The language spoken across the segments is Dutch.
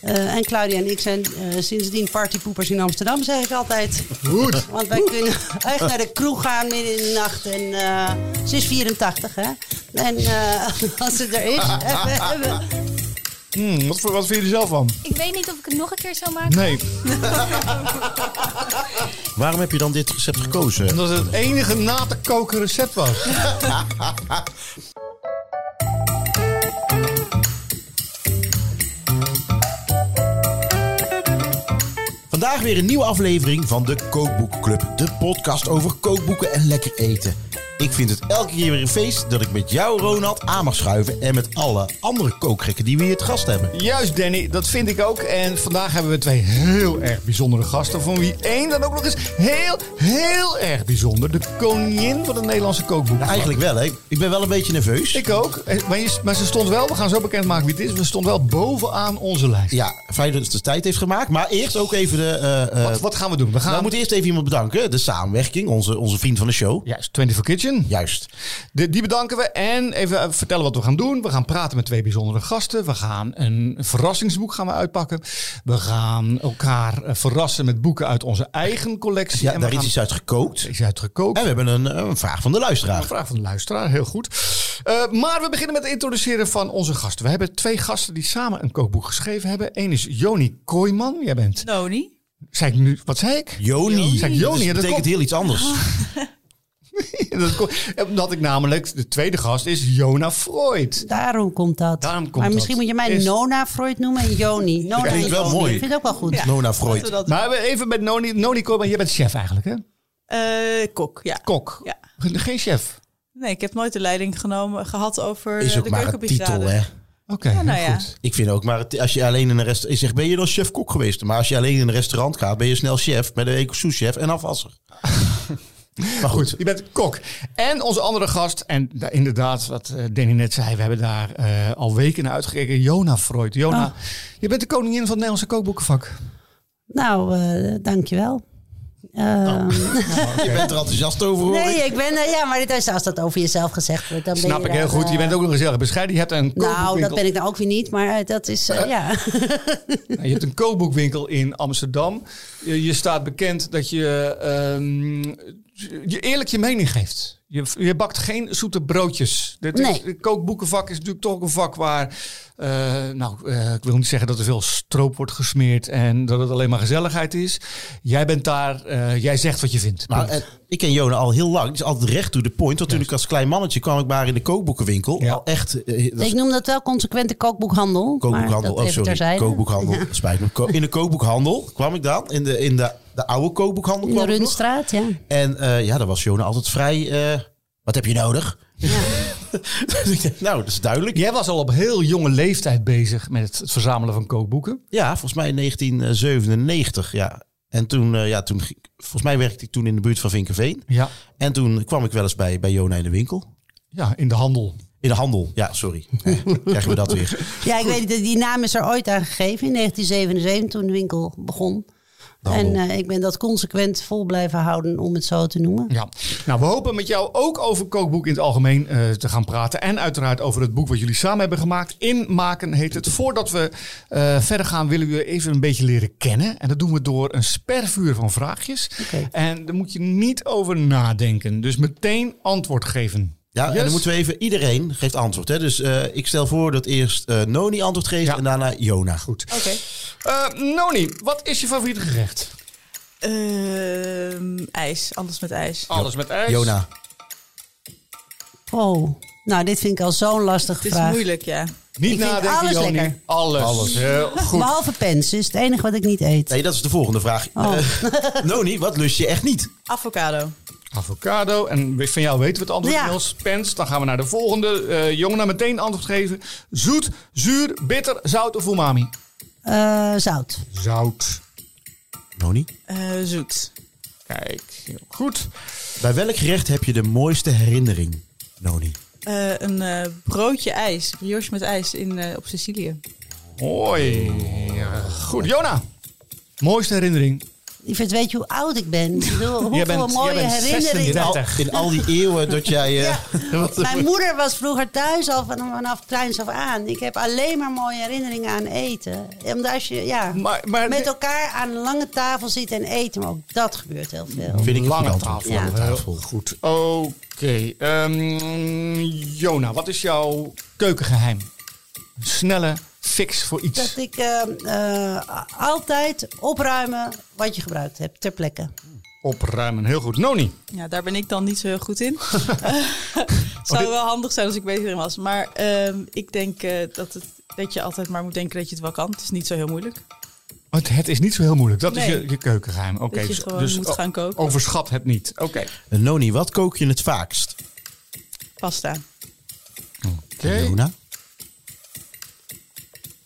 Eh, en Claudia en ik zijn eh, sindsdien partypoepers in Amsterdam, zeg ik altijd. Goed. Want wij kunnen echt naar de kroeg gaan midden in de nacht. En eh, ze is 84, hè? En eh, als ze er is. Hmm, wat, voor- wat vind je er zelf van? Ik weet niet of ik het nog een keer zou maken. Nee, Waarom heb je dan dit recept gekozen? omdat het het enige na te koken recept was. Vandaag weer een nieuwe aflevering van de Kookboekclub. De podcast over kookboeken en lekker eten. Ik vind het elke keer weer een feest dat ik met jou, Ronald, aan mag schuiven. En met alle andere kookgekken die we hier het gast hebben. Juist, Danny, dat vind ik ook. En vandaag hebben we twee heel erg bijzondere gasten. Van wie één dan ook nog eens heel, heel erg bijzonder. De koningin van het Nederlandse kookboek. Eigenlijk wel, hè? Ik ben wel een beetje nerveus. Ik ook. Eh, Maar, je- maar ze stond wel, we gaan zo bekendmaken wie het is. We stond wel bovenaan onze lijst. Ja, fijn dat het de tijd heeft gemaakt. Maar eerst ook even de. eh, eh, Wat, wat gaan we doen? We gaan. we moeten eerst even iemand bedanken. De samenwerking, onze, onze vriend van de show. Juist, 24 Kitchen. Juist. De- die bedanken we. En even eh, vertellen wat we gaan doen. We gaan praten met twee bijzondere gasten. We gaan een verrassingsboek gaan we uitpakken. We gaan elkaar eh, verrassen met boeken uit onze eigen collectie. Ja, en we daar is gaan- iets uit gekookt. is uitgekookt. En we hebben een, eh, een vraag van de luisteraar. Een vraag van de luisteraar, heel goed. Eh, maar we beginnen met het introduceren van onze gasten. We hebben twee gasten die samen een kookboek geschreven hebben. Eén is Joni Kooijman. Jij bent. Noni. Zei ik nu. Wat zei ik? Joni. Zeg, Joni, Dus ja, dat dat betekent komt- heel iets anders. Dat kon- eh, Omdat ik namelijk. De tweede gast is Jona Freud. Daarom komt dat. Daarom komt maar misschien dat. moet je mij Is- Nona Freud noemen en Joni. Nona Klinkt en wel Joni. mooi. Ik vind het ook wel goed. Nona Laten we Freud. dat doen. Maar we even met Noni. Noni Kooijman, jij bent chef eigenlijk, hè? Eh, kok, ja. Kok. Ja. Geen chef. Nee, ik heb nooit de leiding genomen, gehad over Is eh, ook de maar een titel, keukenbrigade. dus. hè? Oké, Ja, nou heel ja. goed. Ik vind ook maar, het- als je alleen in een restaurant... Ik zeg, ben je dan chef-kok geweest? Maar als je alleen in een restaurant gaat, ben je snel chef. Met een eco-sous-chef en afwasser. maar goed. Je bent kok. En onze andere gast, en da- inderdaad, wat eh, Danny net zei, we hebben daar eh, al weken naar uitgekeken. Jona Freud. Jona, Ah. je bent de koningin van het Nederlandse kookboekenvak. Nou, eh, dankjewel. Nou, Ehm Je bent er enthousiast over, hoor nee, ik. ik ben... eh, ja, maar dit is, als dat over jezelf gezegd wordt... Dan ben Snap je ik daar, heel goed. Je eh, bent ook nog gezellig bescheiden. Je hebt een Nou, dat kookboekwinkel, ben ik nou ook weer niet, maar eh, dat is... eh, ja. Nou, je hebt een kookboekwinkel in Amsterdam. Je, je staat bekend dat je, ehm, je eerlijk je mening geeft. Je, je bakt geen zoete broodjes. Dit is- Nee. het kookboekenvak is natuurlijk toch ook een vak waar... eh, nou, eh, ik wil niet zeggen dat er veel stroop wordt gesmeerd... en dat het alleen maar gezelligheid is. Jij bent daar, eh, jij zegt wat je vindt. Maar eh, ik ken Jona al heel lang. Het is altijd recht to the point. Want toen ik als klein mannetje kwam ik maar in de kookboekenwinkel. Ja. Al echt... eh, dat is Ik noem dat wel consequente Dus kookboekhandel. maar Kookboekhandel, dat oh even sorry, terzijde. kookboekhandel, spijt me. Ko- In de kookboekhandel kwam ik dan, in de, in de, de oude kookboekhandel In de kwam ik nog. Rundstraat, ja. En eh, ja, daar was Jona altijd vrij, eh, wat heb je nodig? nou, dat is duidelijk. Jij was al op heel jonge leeftijd bezig met het- het verzamelen van kookboeken. Ja, volgens mij in 1997, ja. En toen, eh, ja, toen, ging- volgens mij werkte ik toen in de buurt van Vinkenveen. Ja. En toen kwam ik wel eens bij, bij Jona in de winkel. Ja, in de handel. In de handel, ja, sorry. Eh, krijgen we dat weer. Ja, ik weet dat die naam is er ooit aan gegeven in 1977 toen de winkel begon. De en handel. eh, ik ben dat consequent vol blijven houden om het zo te noemen. Ja, nou we hopen met jou ook over kookboek in het algemeen eh, te gaan praten. En uiteraard over het boek wat jullie samen hebben gemaakt. Inmaken heet het. Voordat we eh, verder gaan willen we je even een beetje leren kennen. En dat doen we door een spervuur van vraagjes. Oké. En daar moet je niet over nadenken. Dus meteen antwoord geven. Ja, en Yes? dan moeten we even, iedereen geeft antwoord. Hè? Dus eh, ik stel voor dat eerst eh, Noni antwoord geeft Ja. en daarna Jona. Goed. Oké. Eh, Noni, wat is je favoriete gerecht? Ehm, ijs, alles met ijs. Alles met ijs. Jona. Oh, nou dit vind ik al zo'n lastig Het is vraag. moeilijk, ja. Niet Ik vind nadenken, alles Joni. lekker. Alles. Alles. Heel goed. Behalve pens is het enige wat ik niet eet. Nee, dat is de volgende vraag. Oh. Eh, Noni, wat lust je echt niet? Avocado. Avocado. En we- van jou weten we het antwoord Ja. inmiddels. Pens. Dan gaan we naar de volgende. Eh Jongena meteen antwoord geven. Zoet, zuur, bitter, zout of umami? Eh, zout. Zout. Noni, Eh, zoet. Kijk, heel goed. bij welk gerecht heb je de mooiste herinnering? Noni. Eh, een eh, broodje ijs, brioche met ijs in, eh, op Sicilië. Mooi. Goed. Jona. Mooiste herinnering? Yvette, weet je hoe oud ik ben? Ik bedoel, Hoeveel bent- jij mooie bent herinneringen. 36. In al, in al die eeuwen dat jij... eh, wat- Mijn moeder was vroeger thuis al van- vanaf kleins af aan. Ik heb alleen maar mooie herinneringen aan eten. Omdat als je ja, Maar- maar- met elkaar aan een lange tafel zit en eten, maar ook dat gebeurt heel veel. Vind ik een Lange goed tafel. antwoord. Lange Ja. tafel. Goed. Oké. ehm, Jona, wat is jouw keukengeheim? Een snelle fix voor iets. Dat ik eh, eh, altijd opruimen wat je gebruikt hebt ter plekke. Opruimen. Heel goed. Noni. Ja, daar ben ik dan niet zo heel goed in. Eh, Zou wel handig zijn als ik beter in was. Maar ehm, ik denk eh, dat, het, dat je altijd maar moet denken dat je het wel kan. Het is niet zo heel moeilijk. Het, het is niet zo heel moeilijk. Dat is Nee. je, je keukengeheim. Oké. dus- Dat je gewoon moet o- gaan koken. Overschat het niet. Oké. Eh, Noni, wat kook je het vaakst? Pasta. Jona?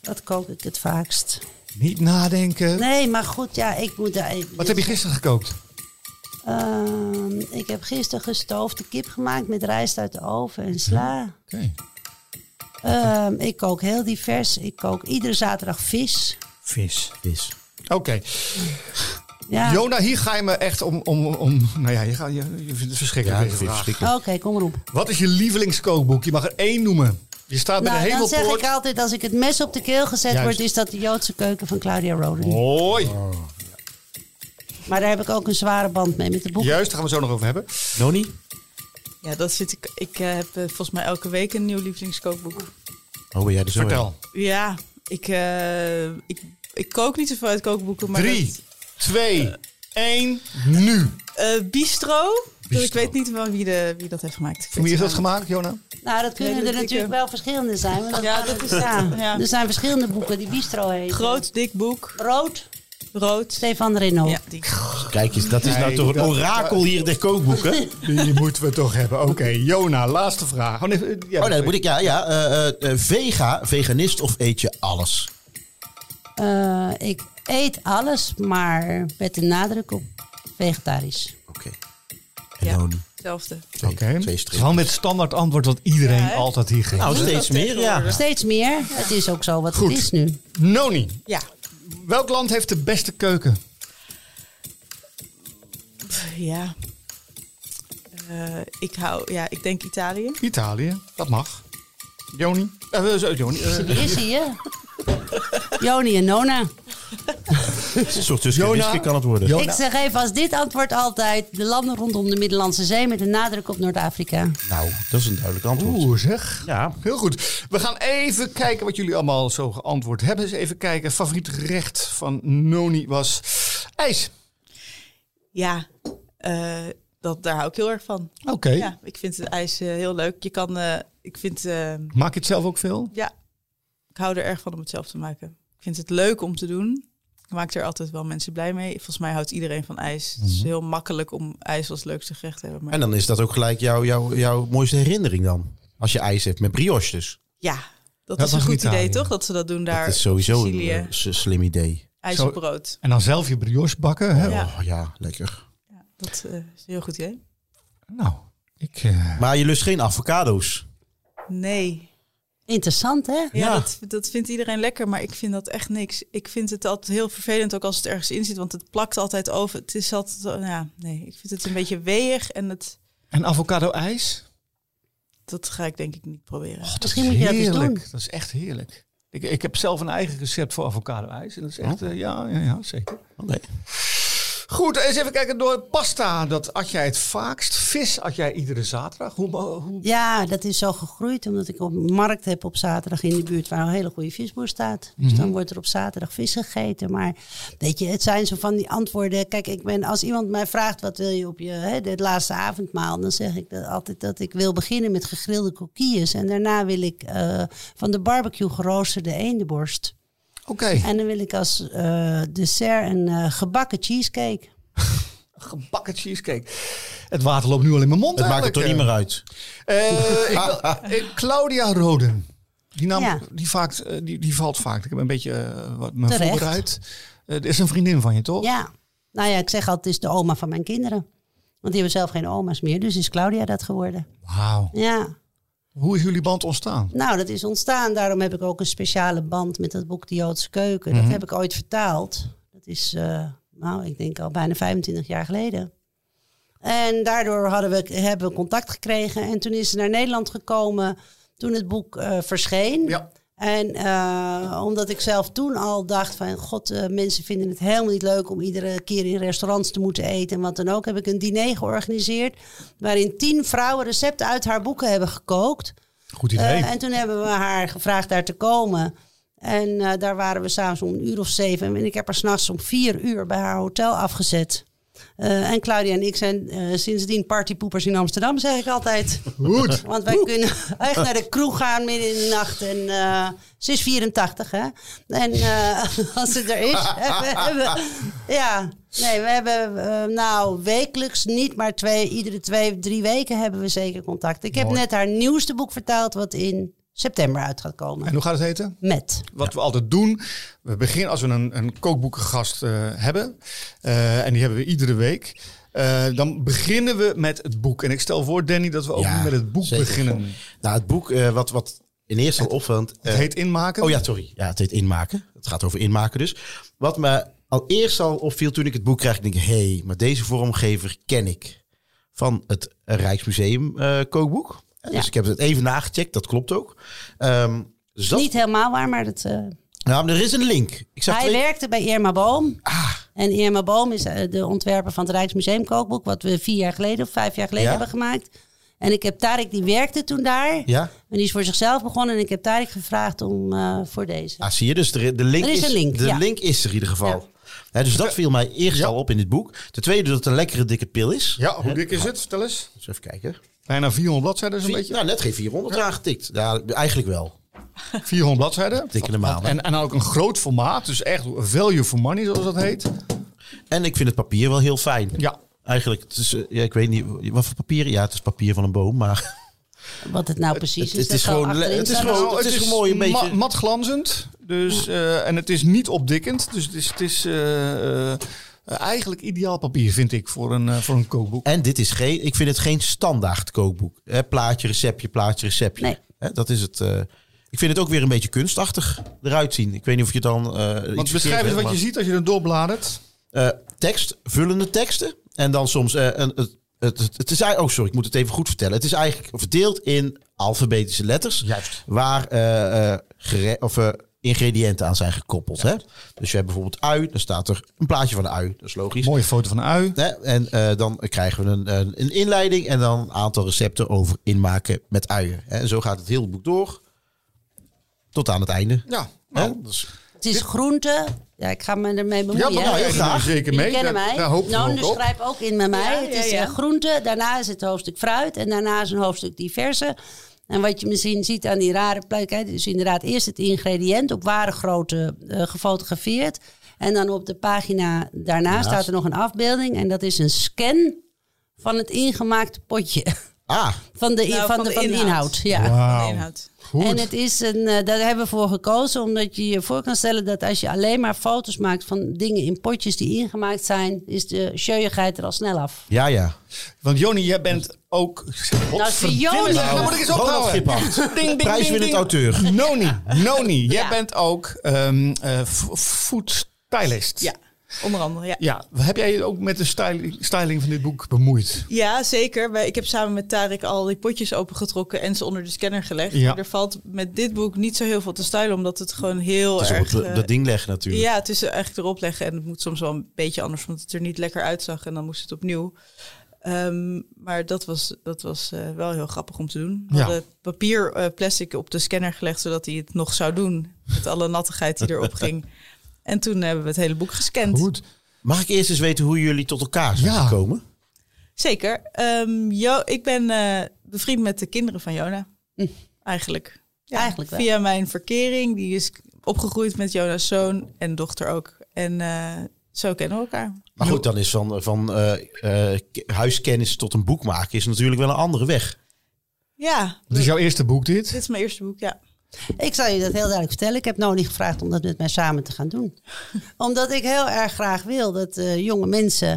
Dat kook ik het vaakst. Niet nadenken. Nee, maar goed, ja, ik moet daar even. Wat heb je gisteren gekookt? Ehm, ik heb gisteren gestoofde kip gemaakt met rijst uit de oven en sla. Oké. Ehm, ik kook heel divers. Ik kook iedere zaterdag vis. Vis. Is. Oké. Ja. Jona, hier ga je me echt om... om, om nou ja, je, gaat, je, je vindt het verschrikkelijk. Ja, deze dat is vraag. verschrikkelijk. Oké, kom erop. Wat is je lievelingskookboek? Je mag er één noemen. Je staat bij Nou, de dan zeg hemelpoort. ik altijd, als ik het mes op de keel gezet Juist. Oh. word, is dat de Joodse keuken van Claudia Roden. Mooi. Oh. Maar daar heb ik ook een zware band mee met de boeken. Juist, daar gaan we het zo nog over hebben. Noni? Ja, dat zit ik. Ik eh, heb eh, volgens mij elke week een nieuw lievelingskookboek. Oh, ben jij er zo Vertel. Ja, ik, eh, ik, ik kook niet zoveel uit kookboeken. Maar Drie, dat- twee, één, nu. eh, bistro. Dus ik Bistro. weet niet van wie, de, wie dat heeft gemaakt. Ik Voor wie is weet dat het gemaakt, Jona? Nou, dat kunnen Nee, er dat ik, natuurlijk eh, wel verschillende zijn. want Ja, gaat dat ook- is- ja. ja. Er zijn verschillende boeken die bistro heten. Groot, dik boek. Rood, Rood. Stefan Renault. Ja, die. Kijk eens, dat is nou Nee, toch een dat- orakel hier der kookboeken. Die moeten we toch hebben. Oké, Jona, laatste vraag. Oh nee, eh, ja, Oh nee, dat moet ik. Ja, ja. eh, eh, eh, vega, veganist of eet je alles? Eh, ik eet alles, maar met de nadruk op vegetarisch. Oké. Ja. En Noni? Hetzelfde. Twee, Oké. twee Het is strepen. Gewoon met standaard antwoord wat iedereen Ja, hè? altijd hier geeft. Nou, Doe steeds dat meer, ja. tegenwoordig. Steeds meer. Het is ook zo wat Goed. het is nu. Noni, Ja. welk land heeft de beste keuken? Pff, Ja. Eh, ik hou, ja, ik denk Italië. Italië, dat mag. Joni? Eh, zo, Joni. eh, Hier is hij, hè? Joni en Nona. Een soort tussenwiske kan het worden. Ik zeg even als dit antwoord altijd de landen rondom de Middellandse Zee met een nadruk op Noord-Afrika. Nou, dat is een duidelijk antwoord. Oeh, zeg. Ja. Heel goed. We gaan even kijken wat jullie allemaal zo geantwoord hebben. Eens even kijken. Favoriet gerecht van Noni was ijs. Ja. eh, dat, daar hou ik heel erg van. Oké. Ja, ik vind het ijs eh, heel leuk. Je kan, eh, ik vind, eh, Maak je het zelf ook veel? ja, ik hou er erg van om het zelf te maken. Ik vind het leuk om te doen. Ik maak er altijd wel mensen blij mee. Volgens mij houdt iedereen van ijs. Het is heel makkelijk om ijs als leukste gerecht te hebben. Maar En dan is dat ook gelijk jouw, jouw, jouw mooiste herinnering dan. Als je ijs hebt met brioche dus. ja, dat, Dat is een was goed Italië. idee toch? Dat ze dat doen daar. dat is sowieso een Sicilië, eh, s- slim idee. ijs Zo- op brood. En dan zelf je brioche bakken. Hè? Ja. Oh ja, lekker. Ja, dat eh, is een heel goed idee. Nou, ik... eh, Maar je lust geen avocado's. Nee. Interessant, hè? Ja, Ja. Dat, dat vindt iedereen lekker, maar ik vind dat echt niks. Ik vind het altijd heel vervelend, ook als het ergens in zit, want het plakt altijd over. Het is altijd, eh, ja, nee, ik vind het een beetje weeg en het, En avocado-ijs? dat ga ik denk ik niet proberen. Misschien moet je dat eens heerlijk. doen. Dat is echt heerlijk. Ik, ik heb zelf een eigen recept voor avocado-ijs. En dat is echt... eh, ja, ja, ja, zeker. Oh. Oké. Goed, eens even kijken door pasta. Dat at jij het vaakst. Vis at jij iedere zaterdag. Hoe, hoe... Ja, dat is zo gegroeid omdat ik op een markt heb op zaterdag in de buurt waar een hele goede visboer staat. Dus dan wordt er op zaterdag vis gegeten. Maar weet je, het zijn zo van die antwoorden. Kijk, ik ben, als iemand mij vraagt wat wil je op je hè, dit laatste avondmaal, dan zeg ik dat altijd dat ik wil beginnen met gegrilde koekjes. En daarna wil ik eh, van de barbecue geroosterde eendenborst. Oké. En dan wil ik als eh, dessert een eh, gebakken cheesecake. Gebakken cheesecake. Het water loopt nu al in mijn mond Het maakt het toch niet meer uit. Eh, ik wil- eh, Claudia Roden. Die, naam, Ja. die, vaak, eh, die, die valt vaak. Ik heb een beetje eh, wat me Terecht. voorbereid. Eh, Er is een vriendin van je, toch? Ja. Nou ja, ik zeg altijd, het is de oma van mijn kinderen. Want die hebben zelf geen oma's meer, dus is Claudia dat geworden. Wauw. Ja, Hoe is jullie band ontstaan? nou dat is ontstaan. Daarom heb ik ook een speciale band met dat boek De Joodse Keuken. Dat heb ik ooit vertaald. Dat is eh, nou, ik denk al bijna 25 jaar geleden. En daardoor hadden we, hebben we contact gekregen. En toen is ze naar Nederland gekomen toen het boek eh, verscheen. Ja. En eh, omdat ik zelf toen al dacht van... God, eh, mensen vinden het helemaal niet leuk om iedere keer in restaurants te moeten eten. En wat dan ook, heb ik een diner georganiseerd... waarin tien vrouwen recepten uit haar boeken hebben gekookt. Goed idee. Eh, en toen hebben we haar gevraagd daar te komen. En eh, daar waren we s'avonds om een uur of zeven. En ik heb haar s'nachts om vier uur bij haar hotel afgezet. Eh, en Claudia en ik zijn eh, sindsdien partypoepers in Amsterdam, zeg ik altijd. Goed. Want wij kunnen echt naar de kroeg gaan midden in de nacht. En eh, ze is 84, hè? En eh, als ze er is. we hebben, ja, nee, we hebben eh, nou wekelijks niet, maar twee, iedere twee, drie weken hebben we zeker contact. Ik heb Mooi. net haar nieuwste boek vertaald, wat in september uit gaat En komen. hoe gaat het heten? Met. Wat we altijd doen, we beginnen als we een, een kookboekengast eh, hebben, eh, en die hebben we iedere week, eh, dan beginnen we met het boek. En ik stel voor, Danny, dat we ook Ja, met het boek zeker. beginnen. Nou, het boek eh, wat, wat in eerste instantie opvalt... eh, Het heet Inmaken. Oh ja, sorry. Ja, het heet inmaken. Het gaat over inmaken dus. Wat me al eerst al opviel toen ik het boek kreeg, ik denk, hé, hey, maar deze vormgever ken ik van het Rijksmuseum eh, kookboek. Eh, Dus Ja. ik heb het even nagecheckt, dat klopt ook. Ehm, dus dat- Niet helemaal waar, maar dat, eh, Nou, maar er is een link. Ik zag hij twee- werkte bij Irma Boom. Ah. En Irma Boom is eh, de ontwerper van het Rijksmuseum Kookboek, wat we vier jaar geleden of vijf jaar geleden Ja. hebben gemaakt. En ik heb Tarek, die werkte toen daar. Ja, En die is voor zichzelf begonnen en ik heb Tarek gevraagd om eh, voor deze. ah, zie je, dus de, de, link, Er is een link, de ja. link is er in ieder geval. Hè, dus dat viel mij eerst al op in dit boek. Ten tweede dat het een lekkere dikke pil is. Ja, hoe dik is het? Vertel eens. Dus even kijken. Bijna 400 bladzijden zo'n Vier- beetje. nou, net geen 400 aangetikt. Ja, eigenlijk wel. 400 bladzijden. Dikke normaal. hè? En, en ook een groot formaat, dus echt value for money zoals dat heet. En ik vind het papier wel heel fijn. Ja. Eigenlijk, het is, eh, ja, ik weet niet, wat voor papier? Ja, het is papier van een boom, maar Wat het nou precies is. het- het dat is zal gewoon le- achterin het is staan. gewoon- Dus het is mooi, een beetje- Oh, ma- mat glanzend. Dus, eh, en het is niet opdikkend. Dus het is, het is eh, eh, eigenlijk ideaal papier, vind ik, voor een, eh, voor een kookboek. en dit is geen, ik vind het geen standaard kookboek. Hè, plaatje, receptje, plaatje, receptje. Nee. Hè, dat is het. eh, ik vind het ook weer een beetje kunstachtig eruit zien. Ik weet niet of je dan. eh, iets Want beschrijf eens verkeerd wat je hebt, ziet als je er doorbladert. maar, eh, tekst, vullende teksten. En dan soms eh, een, het, het, het, het is eigenlijk. Oh, sorry, ik moet het even goed vertellen. Het is eigenlijk verdeeld in alfabetische letters. Juist. waar eh, eh, gere- of, eh, ingrediënten aan zijn gekoppeld. Hè? Dus je hebt bijvoorbeeld ui, dan staat er een plaatje van de ui, dat is logisch. Mooie foto van een ui. Hè? En eh, dan krijgen we een, een, een inleiding en dan een aantal recepten over inmaken met uien. Hè? En zo gaat het hele boek door tot aan het einde. Ja, Hè? nou, Dus- Het is groente. Ja, ik ga me ermee ja, bemoeien. maar nou, hè. ja, heel graag. zeker Jullie mee. kennen Daar- mij. Daar hoop ik Nou, ook dus op. schrijf ook in met mij. Ja, het ja, is eh, ja. groente, daarna is het hoofdstuk fruit en daarna is een hoofdstuk diverse. En wat je misschien ziet aan die rare plek, hè, dus inderdaad eerst het ingrediënt op ware grootte eh, gefotografeerd. En dan op de pagina daarna staat er nog een afbeelding en dat is een scan van het ingemaakte potje. Ah, Van de, Nou, van de, van de inhoud. ja. Van de Wauw. inhoud. Goed. Nou, En het is een, eh, daar hebben we voor gekozen, omdat je je voor kan stellen dat als je alleen maar foto's maakt van dingen in potjes die ingemaakt zijn, is de sjeuigheid er al snel af. ja, ja. Want Joni, jij bent ook... Nou, zie Joni. Nou, moet ik eens Ronald ophouden. Giphart. Ding, ding, Prijswinnend ding, ding. auteur. Noni, Noni, jij Ja. bent ook ehm eh, fo- food stylist. Ja, onder andere, ja. Ja, heb jij je ook met de styling, styling van dit boek bemoeid? Ja, zeker. Wij- Ik heb samen met Tarek al die potjes opengetrokken en ze onder de scanner gelegd. Ja. Maar Er valt met dit boek niet zo heel veel te stylen, omdat het gewoon heel Het is op erg... het- eh, dat ding leggen natuurlijk. ja, het is echt erop leggen en het moet soms wel een beetje anders, omdat het er niet lekker uitzag en dan moest het opnieuw. Ehm, maar dat was, dat was eh, wel heel grappig om te doen. We Ja. hadden papier eh, plastic op de scanner gelegd, zodat hij het nog zou doen. Met alle nattigheid die erop ging. En toen hebben we het hele boek gescand. Mag ik eerst eens weten hoe jullie tot elkaar zijn Ja. gekomen? Zeker. Ehm, jo, ik ben eh, bevriend met de kinderen van Jona. Eigenlijk. Ja, Hm. Eigenlijk wel. Via mijn verkering. Die is opgegroeid met Jona's zoon en dochter ook. En eh, zo kennen we elkaar. Maar goed, dan is van, van eh, eh, k- huiskennis tot een boek maken is natuurlijk wel een andere weg. Ja, Het is jouw eerste boek dit. dit is mijn eerste boek, ja. Ik zal je dat heel duidelijk vertellen. Ik heb Noni gevraagd om dat met mij samen te gaan doen. Omdat ik heel erg graag wil dat eh, jonge mensen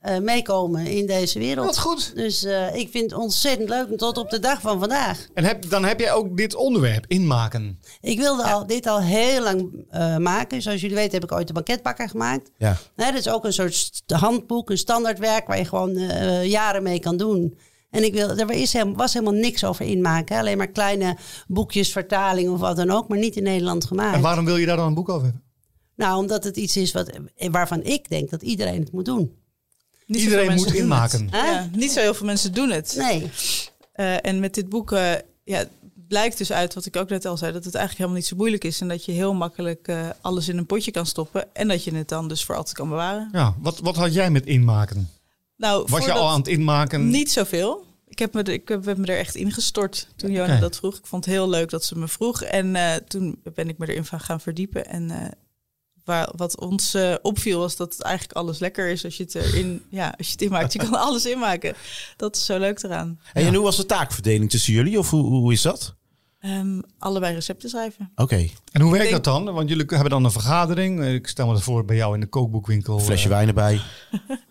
eh, eh, meekomen in deze wereld. Wat goed. Dus eh, ik vind het ontzettend leuk en tot op de dag van vandaag. En heb, dan heb jij ook dit onderwerp inmaken. Ik wilde al, dit al heel lang eh, maken. Zoals jullie weten heb ik ooit de banketbakker gemaakt. Ja. Hè, dat is ook een soort st- handboek, een standaardwerk waar je gewoon eh, jaren mee kan doen. En ik wil, er is helemaal, was helemaal niks over inmaken. hè. Alleen maar kleine boekjes, vertaling of wat dan ook, maar niet in Nederland gemaakt. En waarom wil je daar dan een boek over hebben? Nou, omdat het iets is wat, eh, waarvan ik denk dat iedereen het moet doen. Niet zoveel Iedereen mensen moet doen het. inmaken. Hè? Ja, niet zo heel veel mensen doen het. Nee. Eh, en met dit boek eh, ja, blijkt dus uit, wat ik ook net al zei, dat het eigenlijk helemaal niet zo moeilijk is. En dat je heel makkelijk eh, alles in een potje kan stoppen. En dat je het dan dus voor altijd kan bewaren. Ja, wat, wat had jij met inmaken? Nou, Was je voordat- al aan het inmaken? Niet zoveel. Ik heb, me er, ik heb me er echt ingestort toen Johanna Oké. dat vroeg. Ik vond het heel leuk dat ze me vroeg. En eh, toen ben ik me erin van gaan verdiepen. En eh, waar, wat ons eh, opviel was dat het eigenlijk alles lekker is als je het erin ja, als je het inmaakt. Je kan alles inmaken. Dat is zo leuk eraan. Hey, En hoe was de taakverdeling tussen jullie? Of hoe, hoe is dat? Ehm, allebei recepten schrijven. Oké, En hoe werkt Ik dat dan? Want jullie hebben dan een vergadering. Eh, Ik stel me voor bij jou in de kookboekwinkel. flesje eh, wijn erbij.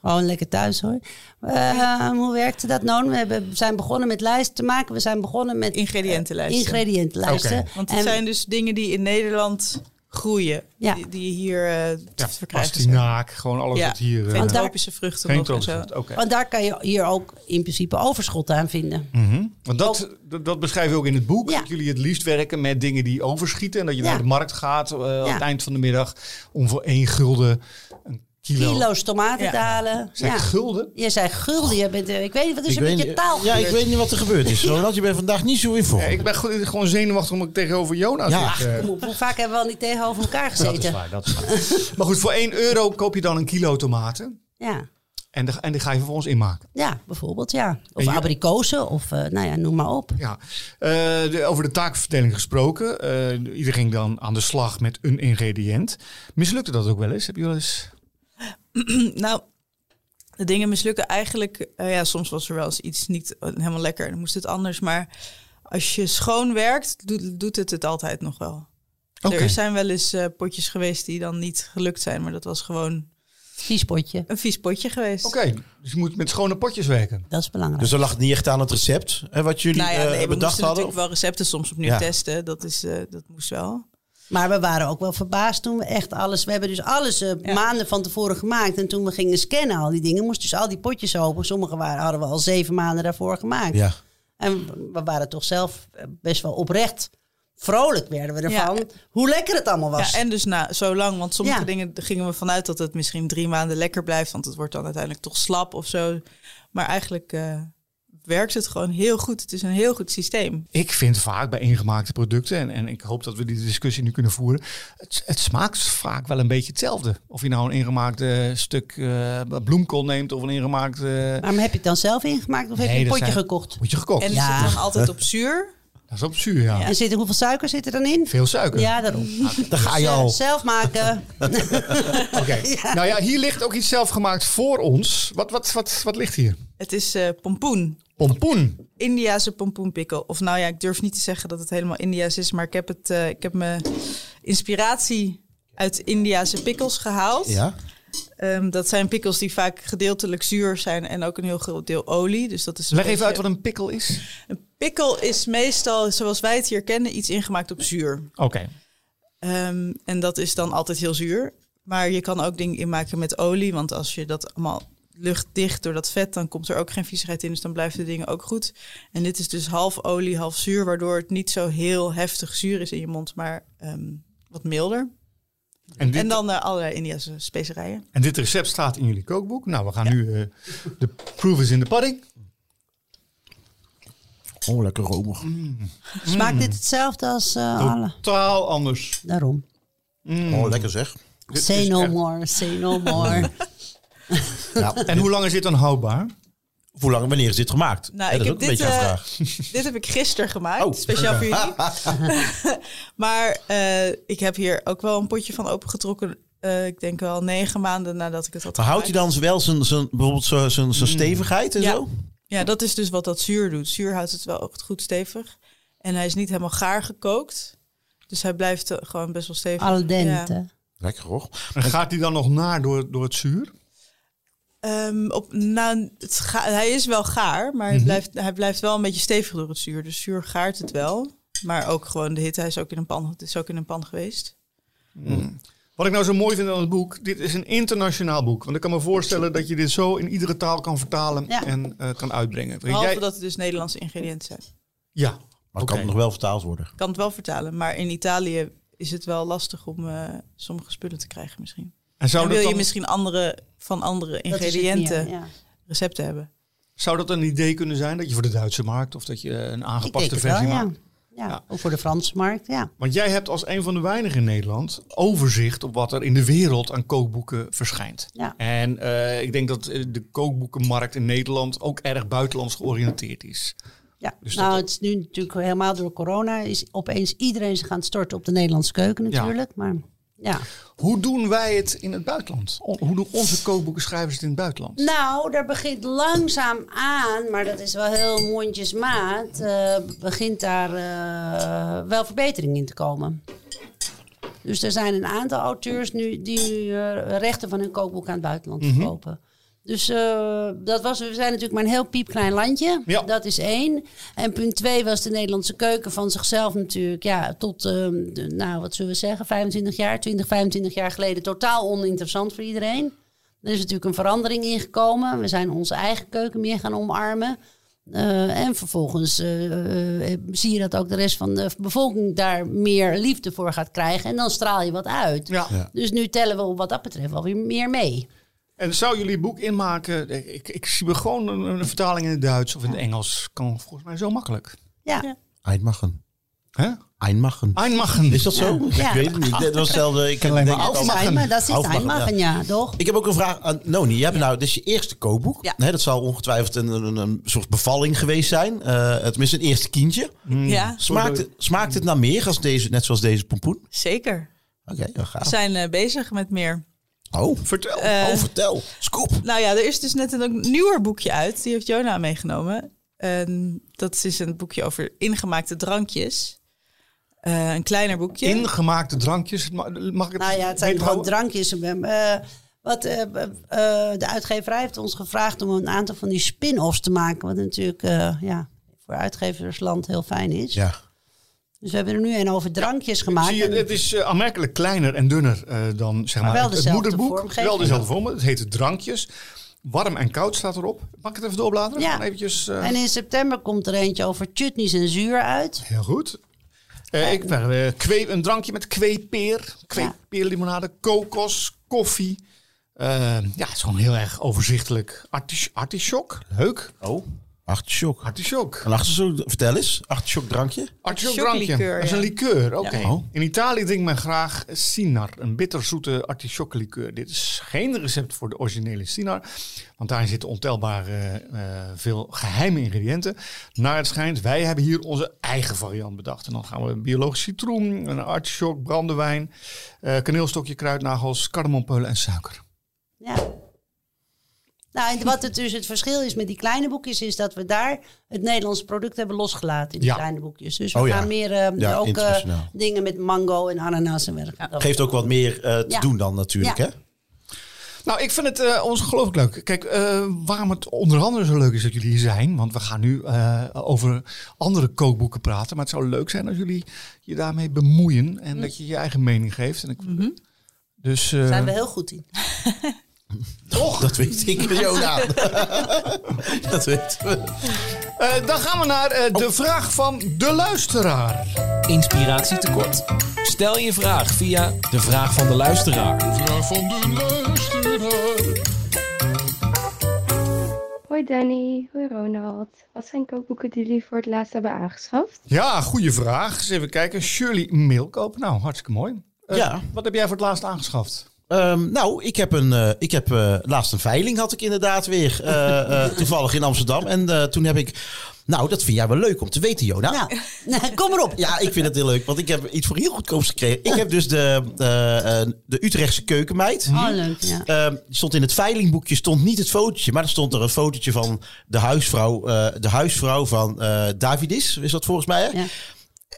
Gewoon lekker thuis hoor. Eh, hoe werkte dat nou? We hebben, we zijn begonnen met lijsten te maken. We zijn begonnen met Ingrediëntenlijsten. Eh, ingrediëntenlijsten. Oké. Want het En- zijn dus dingen die in Nederland groeien. Ehm, Ja. Die, die je hier eh, ja, te verkrijgen zijn. pastinaak, gewoon alles Ja, wat hier... eh, geen Want daar- tropische vruchten geen nog en zo. troostend. Oké. Want daar kan je hier ook in principe overschot aan vinden. Mhm. Want dat, dat, dat beschrijven we ook in het boek. Ja. Dat jullie het liefst werken met dingen die overschieten. En dat je Ja. naar de markt gaat eh, aan Ja. het eind van de middag. Om voor één gulden een kilo... Kilo's tomaten Ja. te halen. Zijn Ja. gulden? Je zei gulden. Je bent, eh, ik weet niet, wat is er met je taal ja, ik gebeurd? weet niet wat er gebeurd is. Ronald, je bent vandaag niet zo in vorm. Ja, ik ben goed- gewoon zenuwachtig omdat ik tegenover Jonas Ja. zit. eh. Kom op, Hoe vaak hebben we al niet tegenover elkaar dat is gezeten? waar, dat is waar. maar goed, voor 1 euro koop je dan een kilo tomaten. Ja. En, de, en die ga je vervolgens inmaken. ja, bijvoorbeeld ja. Of En je- abrikozen of eh, nou ja, noem maar op. Ja. Eh, de- over de taakverdeling gesproken. Eh iedereen ging dan aan de slag met een ingrediënt. Mislukte dat ook wel eens? Heb je wel eens... Nou, de dingen mislukken eigenlijk. eh, ja, soms was er wel eens iets niet eh, helemaal lekker en dan moest het anders. Maar als je schoon werkt, doet, doet het het altijd nog wel. Oké. Er zijn wel eens eh, potjes geweest die dan niet gelukt zijn, maar dat was gewoon Kiespotje, een vies potje geweest. Oké, dus je moet met schone potjes werken. dat is belangrijk. Dus dan lag het niet echt aan het recept hè, wat jullie Nou ja, eh, nee, we bedacht moesten hadden. natuurlijk wel recepten soms opnieuw Ja. testen. Dat, is, eh, dat moest wel. Maar we waren ook wel verbaasd toen we echt alles... We hebben dus alles eh, Ja. maanden van tevoren gemaakt. En toen we gingen scannen al die dingen, moesten dus al die potjes open. Sommige waren, hadden we al zeven maanden daarvoor gemaakt. Ja. En we waren toch zelf eh, best wel oprecht. Vrolijk werden we ervan. Ja. Hoe lekker het allemaal was. Ja, en dus na zo lang, want sommige Ja. dingen gingen we vanuit dat het misschien drie maanden lekker blijft, want het wordt dan uiteindelijk toch slap of zo. Maar eigenlijk eh, werkt het gewoon heel goed. Het is een heel goed systeem. Ik vind vaak bij ingemaakte producten, en, en ik hoop dat we die discussie nu kunnen voeren, het, het smaakt vaak wel een beetje hetzelfde. Of je nou een ingemaakt eh, stuk eh, bloemkool neemt of een ingemaakt... eh, Maar heb je het dan zelf ingemaakt of heb Nee, je een dat potje zijn- gekocht? eh, Moet je gekocht. En is Ja. het dan altijd op zuur? Dat is op zuur, ja. En zit er, hoeveel suiker zit er dan in? Veel suiker. Ah, Ja, daarom. Daar ga je Dus, eh, al. Zelf maken. Oké. Nou ja, hier ligt ook iets zelfgemaakt voor ons. Wat, wat, wat, wat ligt hier? Het is eh, pompoen. Pompoen. Indiase pompoenpikkel. Of nou ja, ik durf niet te zeggen dat het helemaal India's is, maar ik heb, het, eh, ik heb mijn inspiratie uit Indiase pikkels gehaald. Ja. Ehm, dat zijn pikkels die vaak gedeeltelijk zuur zijn en ook een heel groot deel olie. Dus dat is een Leg even beetje- uit wat een pikkel is. Een pikkel is meestal, zoals wij het hier kennen, iets ingemaakt op zuur. Oké. Ehm, en dat is dan altijd heel zuur. Maar je kan ook dingen inmaken met olie. Want als je dat allemaal luchtdicht door dat vet, dan komt er ook geen viezigheid in. Dus dan blijven de dingen ook goed. En dit is dus half olie, half zuur. Waardoor het niet zo heel heftig zuur is in je mond, maar ehm, wat milder. En, dit- En dan eh, allerlei Indiase specerijen. en dit recept staat in jullie kookboek. Nou, we gaan nu... eh, de proof is in de pudding. Oh, lekker romig. Mm. Smaakt dit hetzelfde als eh, alle? Totaal anders. Daarom. Oh, lekker zeg. Dit Say is no echt- more, say no more. Ja. En hoe lang is dit dan houdbaar? Hoe lang, wanneer is dit gemaakt? Nou, Hè, dat ik is heb ook een dit, beetje een eh, vraag. Dit heb ik gisteren gemaakt, Oh. speciaal voor jullie. maar eh, ik heb hier ook wel een potje van opengetrokken. Eh, ik denk wel negen maanden nadat ik het had Maar houdt hij gemaakt. dan wel zijn, zijn, bijvoorbeeld zijn, zijn, Hmm. zijn stevigheid en Ja. zo? Ja, dat is dus wat dat zuur doet. Zuur houdt het wel echt goed stevig. En hij is niet helemaal gaar gekookt. Dus hij blijft eh, gewoon best wel stevig. Al Ja. dente. Lekker hoor. En gaat die dan nog naar door, door het zuur? Ehm, op, nou, het ga- hij is wel gaar, maar Mhm. hij, blijft, hij blijft wel een beetje stevig door het zuur. Dus zuur gaart het wel. Maar ook gewoon de hitte. Hij is ook in een pan, het is ook in een pan geweest. Wat ik nou zo mooi vind aan het boek, dit is een internationaal boek. Want ik kan me voorstellen dat je dit zo in iedere taal kan vertalen Ja. en eh, kan uitbrengen. Behalve Jij- dat het dus Nederlandse ingrediënten zijn. Ja, Maar het Oké. kan nog wel vertaald worden. Ik kan het wel vertalen, maar in Italië is het wel lastig om eh, sommige spullen te krijgen misschien. En zou dat, Dan wil je dan- misschien andere, van andere Dat is het ingrediënten meer, ja. recepten hebben. zou dat een idee kunnen zijn dat je voor de Duitse markt of dat je eh, een Ik denk aangepaste het versie wel, ja. maakt? Ja, Ja. ook voor de Franse markt, ja. Want jij hebt als een van de weinigen in Nederland overzicht op wat er in de wereld aan kookboeken verschijnt. Ja. En eh, ik denk dat eh, de kookboekenmarkt in Nederland ook erg buitenlands georiënteerd is. ja. Dus nou, dat- het is nu natuurlijk helemaal door corona. Is opeens iedereen zich aan het storten op de Nederlandse keuken Ja. natuurlijk. Maar ja. Hoe doen wij het in het buitenland? O- Hoe doen onze kookboekenschrijvers het in het buitenland? Nou, daar begint langzaam aan, maar dat is wel heel mondjesmaat, eh, begint daar eh, wel verbetering in te komen. Dus er zijn een aantal auteurs nu die nu eh, rechten van hun kookboek aan het buitenland verkopen. Dus eh, dat was, we zijn natuurlijk maar een heel piepklein landje. Ja. Dat is één. En punt twee was de Nederlandse keuken van zichzelf natuurlijk. Ja, tot, eh, de- nou wat zullen we zeggen, 25 jaar, 20, 25 jaar geleden totaal oninteressant voor iedereen. Er is natuurlijk een verandering ingekomen. We zijn onze eigen keuken meer gaan omarmen. Eh, en vervolgens eh, eh, zie je dat ook de rest van de bevolking daar meer liefde voor gaat krijgen. En dan straal je wat uit. Ja. Ja. Dus nu tellen we wat dat betreft wel weer meer mee. En zou jullie boek inmaken? Ik, ik zie me gewoon een, een vertaling in het Duits of in het Engels. Kan volgens mij zo makkelijk. Ja, Ja. Einmachen. Hè? Einmachen. Einmachen. Ah. Is dat zo? Ja. Ik weet het niet. Dat was hetzelfde. Ik heb Alleen maar denk ik dat al- is Aufmachen. Heimagen. Dat is Aufmachen, Heimagen, ja. toch? Ik heb ook een vraag aan Noni. Je hebt nou, dit is je eerste kookboek. Ja. Hè, dat zal ongetwijfeld een, een, een soort bevalling geweest zijn. Eh, tenminste, een eerste kindje. Hmm. Hmm. Ja, Smaakt, het- smaakt het naar meer, als deze, net zoals deze pompoen? zeker. Oké, dan We gaaf. zijn eh, bezig met meer. Oh, Vertel. Eh, oh, vertel. Scoop. Nou ja, er is dus net een ook nieuwer boekje uit. Die heeft Jona meegenomen. En dat is een boekje over ingemaakte drankjes. Eh, een kleiner boekje. Ingemaakte drankjes. Ma- Mag ik het Nou ja, het zijn gewoon weten? drankjes. Eh, wat, eh, eh, eh, de uitgeverij heeft ons gevraagd om een aantal van die spin-offs te maken. Wat natuurlijk eh, ja, voor uitgeversland heel fijn is. Ja. Dus we hebben er nu een over drankjes gemaakt. Zie je, het is eh, aanmerkelijk kleiner en dunner eh, dan zeg maar, wel het, het dezelfde moederboek. vormgeving. Wel dezelfde vorm. Het heet drankjes. Warm en koud staat erop. Mag ik het even doorbladeren? Ja. Gewoon Eventjes, eh, En in september komt er eentje over chutneys en zuur uit. Heel goed. Eh, ik ben, eh, kwee- een drankje met kweepeer, kweepeerlimonade, kokos, koffie. Eh, ja, het is gewoon heel erg overzichtelijk. Artis, artichok, leuk. Oh, artichok. Artichok. Een artichok, vertel eens. Artichok drankje. Artichok Artichok drankje. liqueur, dat is een ja. liqueur, oké. Ja. Oh. In Italië drinkt men graag Sinar, een bitterzoete artichokkenlikeur. Dit is geen recept voor de originele Sinar, want daarin zitten ontelbaar eh, eh, veel geheime ingrediënten. Naar het schijnt, wij hebben hier onze eigen variant bedacht. En dan gaan we biologisch citroen, een artichok, brandewijn, eh, kaneelstokje, kruidnagels, kardemompeulen en suiker. Ja. Nou, en wat het dus het verschil is met die kleine boekjes, is dat we daar het Nederlandse product hebben losgelaten in die Ja. kleine boekjes. Dus we Oh ja. gaan meer eh, Ja, ook eh, internationaal. dingen met mango en ananas en werk. Nou, Dat- Geeft ook wat meer eh, te Ja. doen dan natuurlijk, Ja. hè? Nou, ik vind het eh ongelooflijk leuk. Kijk, eh, waarom het onder andere zo leuk is dat jullie hier zijn. Want we gaan nu eh, over andere kookboeken praten. Maar het zou leuk zijn als jullie je daarmee bemoeien. Mm. En dat je je eigen mening geeft. En ik, Dus eh, Daar Mhm. zijn we heel goed in. Toch? Dat weet ik, Jona. dat weten we. eh, dan gaan we naar eh, Oh. de vraag van de luisteraar. Inspiratie tekort. Stel je vraag via de vraag van de luisteraar. Hoi Danny, hoi Ronald. Wat zijn kookboeken die jullie voor het laatst hebben aangeschaft? Ja, goede vraag. Eens even kijken. Shirley Milkoop. Nou, hartstikke mooi. Eh, Ja. Wat heb jij voor het laatst aangeschaft? Ehm, nou, ik heb een, eh, ik heb, eh, laatst een veiling had ik inderdaad weer. eh, eh, toevallig in Amsterdam. En eh, toen heb ik... Nou, dat vind jij wel leuk om te weten, Jona. Nou, nou, kom erop. Ja, ik vind het heel leuk, want ik heb iets voor heel goedkoops gekregen. Ik heb dus de, eh, eh, de Utrechtse keukenmeid. Oh, leuk. Ja. Ehm, stond in het veilingboekje stond niet het fotootje, maar er stond er een fotootje van de huisvrouw, eh, de huisvrouw van eh, Davidis, is dat volgens mij. Hè? Ja.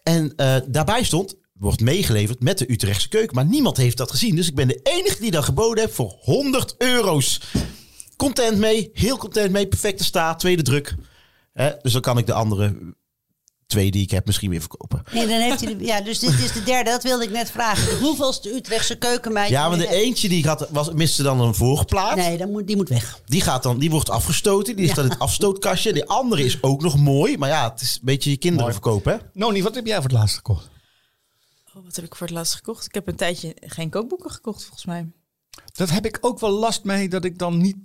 En eh, daarbij stond, wordt meegeleverd met de Utrechtse keuken. Maar niemand heeft dat gezien. Dus ik ben de enige die dat geboden heb voor 100 euro's. Content mee, heel content mee, perfecte staat, tweede druk. Hè, dus dan kan ik de andere twee die ik heb misschien weer verkopen. Nee, dan heeft hij de- ja, dus dit is de derde, dat wilde ik net vragen. Hoeveelste Utrechtse keukenmeid? Ja, maar de één. eentje die ik had, was, miste dan een voorplaat. Nee, dan moet, die moet weg. Die, gaat dan, die wordt afgestoten, die ligt dan in het afstootkastje. Die andere is ook nog mooi, maar ja, het is een beetje je kinderen Mooi. verkopen, hè? Noni, wat heb jij voor het laatst gekocht? Oh, wat heb ik voor het laatst gekocht? Ik heb een tijdje geen kookboeken gekocht, volgens mij. Dat heb ik ook wel last mee dat ik dan niet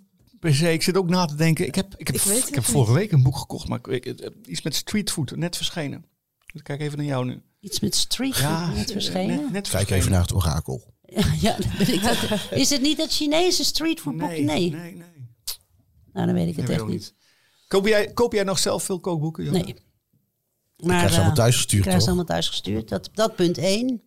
per se. Ik zit ook na te denken. Ik heb, ik heb, Ik weet het ik heb niet. vorige week een boek gekocht, maar ik, ik- het- iets met streetfood, net verschenen. Ik kijk even naar jou nu. Iets met street food net verschenen. Net, net Kijk verschenen. even naar het orakel. Ja, dan ben ik dat. Is het niet dat Chinese streetfoodboek? Nee. Nee, nee, nee. Nou, dan weet ik het weet echt ook niet. Koop jij, koop jij nog zelf veel kookboeken? Johan? Nee. Maar, Krijg ze allemaal eh, thuis gestuurd, krijg ze toch? allemaal thuis gestuurd. Dat, dat punt één.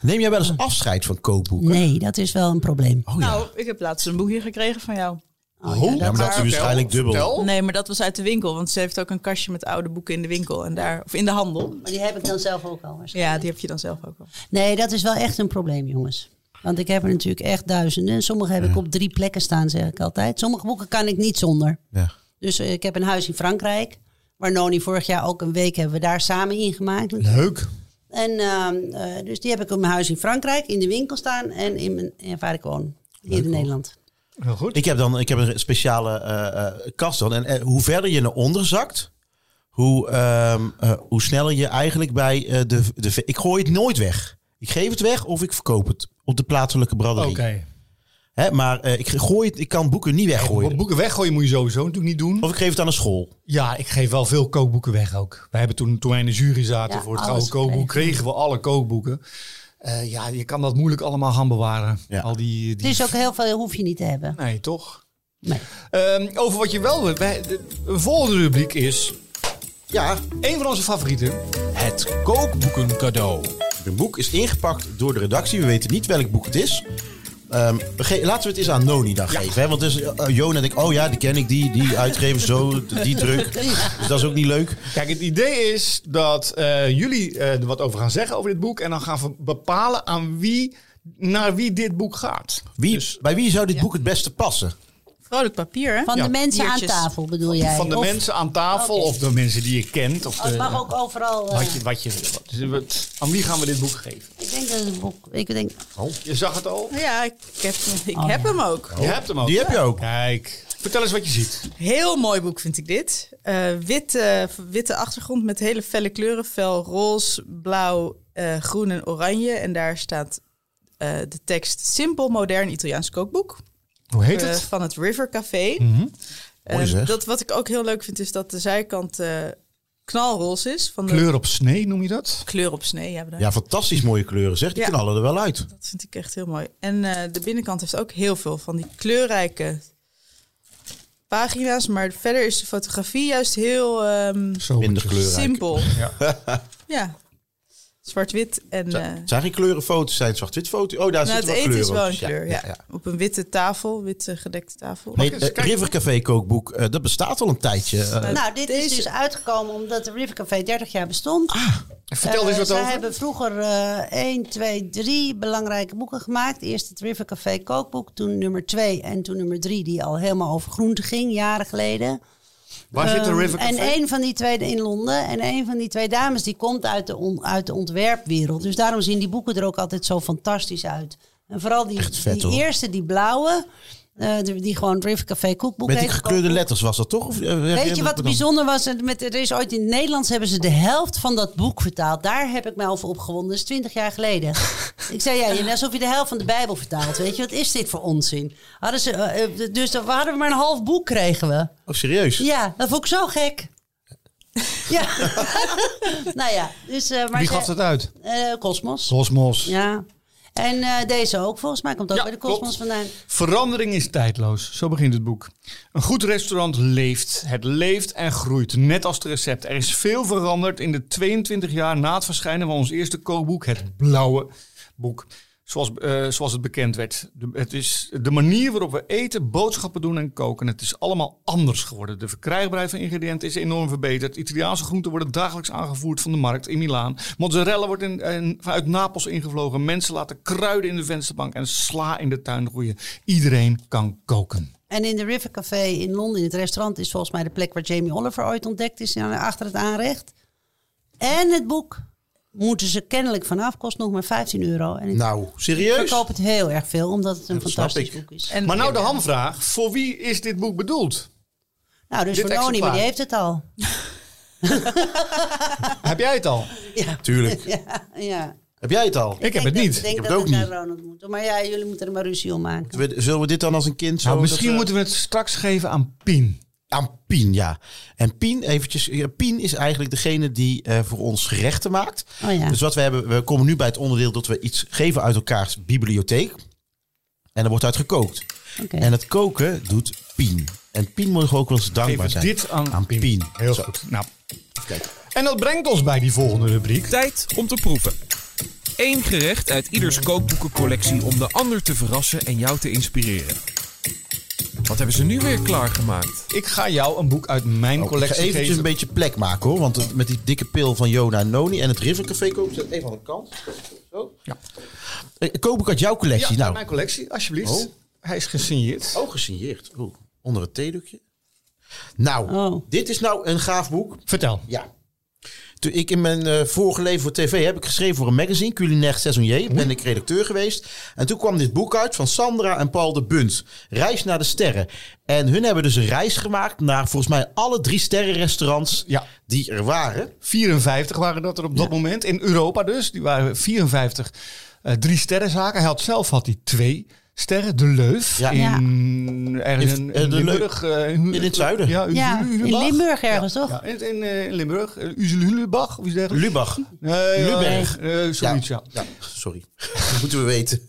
Neem jij wel eens afscheid van kookboeken? Nee, dat is wel een probleem. Oh, ja. nou, ik heb laatst een boekje gekregen van jou. Oh, Oh, ja, dat- maar dat is Vertel, waarschijnlijk dubbel. vertel. Nee, maar dat was uit de winkel, want ze heeft ook een kastje met oude boeken in de winkel en daar, of in de handel. Maar die heb ik dan zelf ook al. waarschijnlijk. Ja, die heb je dan zelf ook wel. Nee, dat is wel echt een probleem, jongens. Want ik heb er natuurlijk echt duizenden. En sommige heb ik op drie plekken staan, zeg ik altijd. Sommige boeken kan ik niet zonder. Ja. Dus eh, ik heb een huis in Frankrijk. Waar Noni vorig jaar ook een week hebben we daar samen ingemaakt. Leuk. En ehm, eh, dus die heb ik op mijn huis in Frankrijk, in de winkel staan en in mijn, en waar ik woon. Hier in Nederland. Heel goed. Ik heb dan ik heb een speciale eh, eh, kast dan. En eh, hoe verder je naar onder zakt, hoe, ehm, eh, hoe sneller je eigenlijk bij eh, de, de... Ik gooi het nooit weg. Ik geef het weg of ik verkoop het op de plaatselijke Oké. braderie. Hè, maar eh, ik, gooi het, ik kan boeken niet Bo- weggooien. Boeken weggooien moet je sowieso natuurlijk niet doen. Of ik geef het aan een school. Ja, ik geef wel veel kookboeken weg ook. Wij hebben toen, toen wij in de jury zaten Ja, voor het alles Gouden Kookboek, kregen we alle kookboeken. Eh, ja, je kan dat moeilijk allemaal gaan bewaren. Ja. Al die, Het die... is Dus ook heel veel, hoef je niet te hebben. Nee, toch? Nee. Ehm, over wat je wel... wil- Wij, de, de volgende rubriek is Ja, een van onze favorieten. Het kookboeken cadeau. een boek is ingepakt door de redactie. We weten niet welk boek het is. Ehm, we ge- laten we het eens aan Noni dan geven. Hè? Want dus, eh, Jona denkt, oh ja, die ken ik, die, die uitgever zo, die druk. Dus dat is ook niet leuk. Kijk, het idee is dat eh, jullie eh, er wat over gaan zeggen over dit boek. En dan gaan we bepalen aan wie, naar wie dit boek gaat. Wie, bij wie zou dit boek het beste passen? Vrolijk papier, hè? Van Ja, de mensen biertjes. aan tafel bedoel jij? Van de Of- Oh, mensen aan tafel Oké. of de mensen die je kent. Of Oh, het de- mag ook overal. eh, wat je, wat je, wat- dus wat- aan wie gaan we dit boek geven? Ik denk dat het boek. Ik denk, Je zag het al. Ja, ik heb, ik Oh, heb ja. hem ook. Je hebt hem ook. Die heb je ook. Kijk, vertel eens wat je ziet. Heel mooi boek vind ik dit. Eh, witte, witte achtergrond met hele felle kleuren. Fel roze, blauw, eh, groen en oranje. En daar staat eh, de tekst Simpel Modern Italiaans Kookboek. Hoe heet eh, het? van het River Café. Eh, Mooi zeg. dat, wat ik ook heel leuk vind is dat de zijkant eh, knalroze is. Van de kleur, Kleur op snee noem je dat? op snee. Ja, bedankt. Ja, fantastisch mooie kleuren zeg. Die Ja. knallen er wel uit. Oh, Dat vind ik echt heel mooi. En eh, de binnenkant heeft ook heel veel van die kleurrijke pagina's. Maar verder is de fotografie juist heel... ehm, Zo Minder kleurrijk. Simpel. Ja. Ja. Zwart-wit en... Zijn- eh, Het zijn geen kleurenfoto's, zijn zwart-wit foto's. Oh, daar nou, zit het wel eten kleur is op. wel een kleur, ja. ja, ja. Op een witte tafel, witte gedekte tafel. Nee, eens eh, kijken? River Café kookboek, eh, dat bestaat al een tijdje. eh. nou, dit is Deze- dus uitgekomen omdat de River Café 30 jaar bestond. Ah, Vertel eens Eh, wat zij over. hebben vroeger eh 1, 2, 3 belangrijke boeken gemaakt. Eerst het River Café kookboek, toen nummer 2 en toen nummer 3, die al helemaal over groente ging, jaren geleden. Waar zit de Ehm, River Café? En één van die twee in Londen. En een van die twee dames die komt uit de, on- uit de ontwerpwereld. Dus daarom zien die boeken er ook altijd zo fantastisch uit. En vooral die, Echt vet, die hoor. eerste, die blauwe, eh, die die gewoon River Café kookboek Met die heeft. gekleurde letters was dat toch? Of, eh, Weet je herinner ik wat me dan? bijzonder was? Het Met, er is ooit in het Nederlands hebben ze de helft van dat boek vertaald. Daar heb ik mij over opgewonden. Dat is twintig jaar geleden. ik zei, ja, je- alsof je de helft van de Bijbel vertaalt. Weet je, wat is dit voor onzin? Hadden ze, eh, eh, dus dan hadden we maar een half boek kregen we. Oh, serieus? Ja, dat vond ik zo gek. ja. nou ja, dus... eh maar Wie ze- gaf dat uit? eh, Cosmos. Cosmos. ja. En eh, deze ook, volgens mij komt ook Ja, bij de Cosmos klopt. vandaan. Verandering is tijdloos, zo begint het boek. Een goed restaurant leeft. Het leeft en groeit, net als het recept. Er is veel veranderd in de 22 jaar na het verschijnen van ons eerste kookboek, het Blauwe Boek. zoals, eh, zoals het bekend werd. De, het is de manier waarop we eten, boodschappen doen en koken. Het is allemaal anders geworden. De verkrijgbaarheid van ingrediënten is enorm verbeterd. Italiaanse groenten worden dagelijks aangevoerd van de markt in Milaan. Mozzarella wordt in, en vanuit Napels ingevlogen. Mensen laten kruiden in de vensterbank en sla in de tuin groeien. Iedereen kan koken. En in de River Café in Londen, in het restaurant, is volgens mij de plek waar Jamie Oliver ooit ontdekt is, ja, achter het aanrecht. En het boek moeten ze kennelijk vanaf, kost nog maar 15 euro. En ik Nou, dus- serieus? verkoop het heel erg veel, omdat het een dat snap fantastisch ik. boek is. En, Maar nou de hamvraag. Voor wie is dit boek bedoeld? nou, dus dit Verloni, maar die exemplaar. heeft het al. Heb jij het al? Ja, Tuurlijk. ja, ja. Heb jij het al? Ik heb denk het dat- niet. Ik denk Ik heb dat het we ook naar Ronald moeten. Maar ja, jullie moeten er maar ruzie om maken. We- Zullen we dit dan als een kind zo... Nou, misschien dat we- moeten we het straks geven aan Pien. Aan Pien, ja. En Pien, eventjes, ja, Pien is eigenlijk degene die eh, voor ons gerechten maakt. Oh ja. Dus wat we hebben, we komen nu bij het onderdeel dat we iets geven uit elkaars bibliotheek. En er wordt uit gekookt. Oké. En het koken doet Pien. En Pien moet ook wel eens dankbaar Geef zijn. dit aan, aan Pien. Pien. Heel Zo. goed. Nou. kijken. En dat brengt ons bij die volgende rubriek. Tijd om te proeven. Eén gerecht uit ieders kookboekencollectie om de ander te verrassen en jou te inspireren. Wat hebben ze nu weer klaargemaakt? Ik ga jou een boek uit mijn Oh, ik ga collectie eventjes geven. een beetje plek maken hoor. Want het- met die dikke pil van Jona en Noni en het Rivercafé koken zet even aan de kant. Zo. Ja. Eh, Kookboek uit jouw ja, collectie. uit nou, mijn collectie, alsjeblieft. Oh. Hij is gesigneerd. oh gesigneerd. Oeh, onder het theedoekje. Nou, Oh. dit is nou een gaaf boek. Vertel. Ja. Toen ik in mijn eh, vorige leven voor tv heb ik geschreven voor een magazine, Culinaire Saisonnier, ben ik redacteur geweest. En toen kwam dit boek uit van Sandra en Paul de Bunt, Reis naar de Sterren. En hun hebben dus een reis gemaakt naar volgens mij alle drie sterrenrestaurants Ja. die er waren. 54 waren dat er op dat moment. In Europa dus. Die waren 54 eh, drie sterrenzaken. Hij had zelf had hij twee sterren. De Leuf. Ja. In, ergens in, In- eh, in de Limburg. eh, in, In het zuiden. Ja, in, Ja, in Lubach. Limburg ergens, toch? Ja, in, in, eh, in Limburg. Uh, Uzelulebach of iets dergelijks. Lubach. Nee, Lubach. eh, eh, zoiets, ja. ja. Sorry, dat moeten we weten.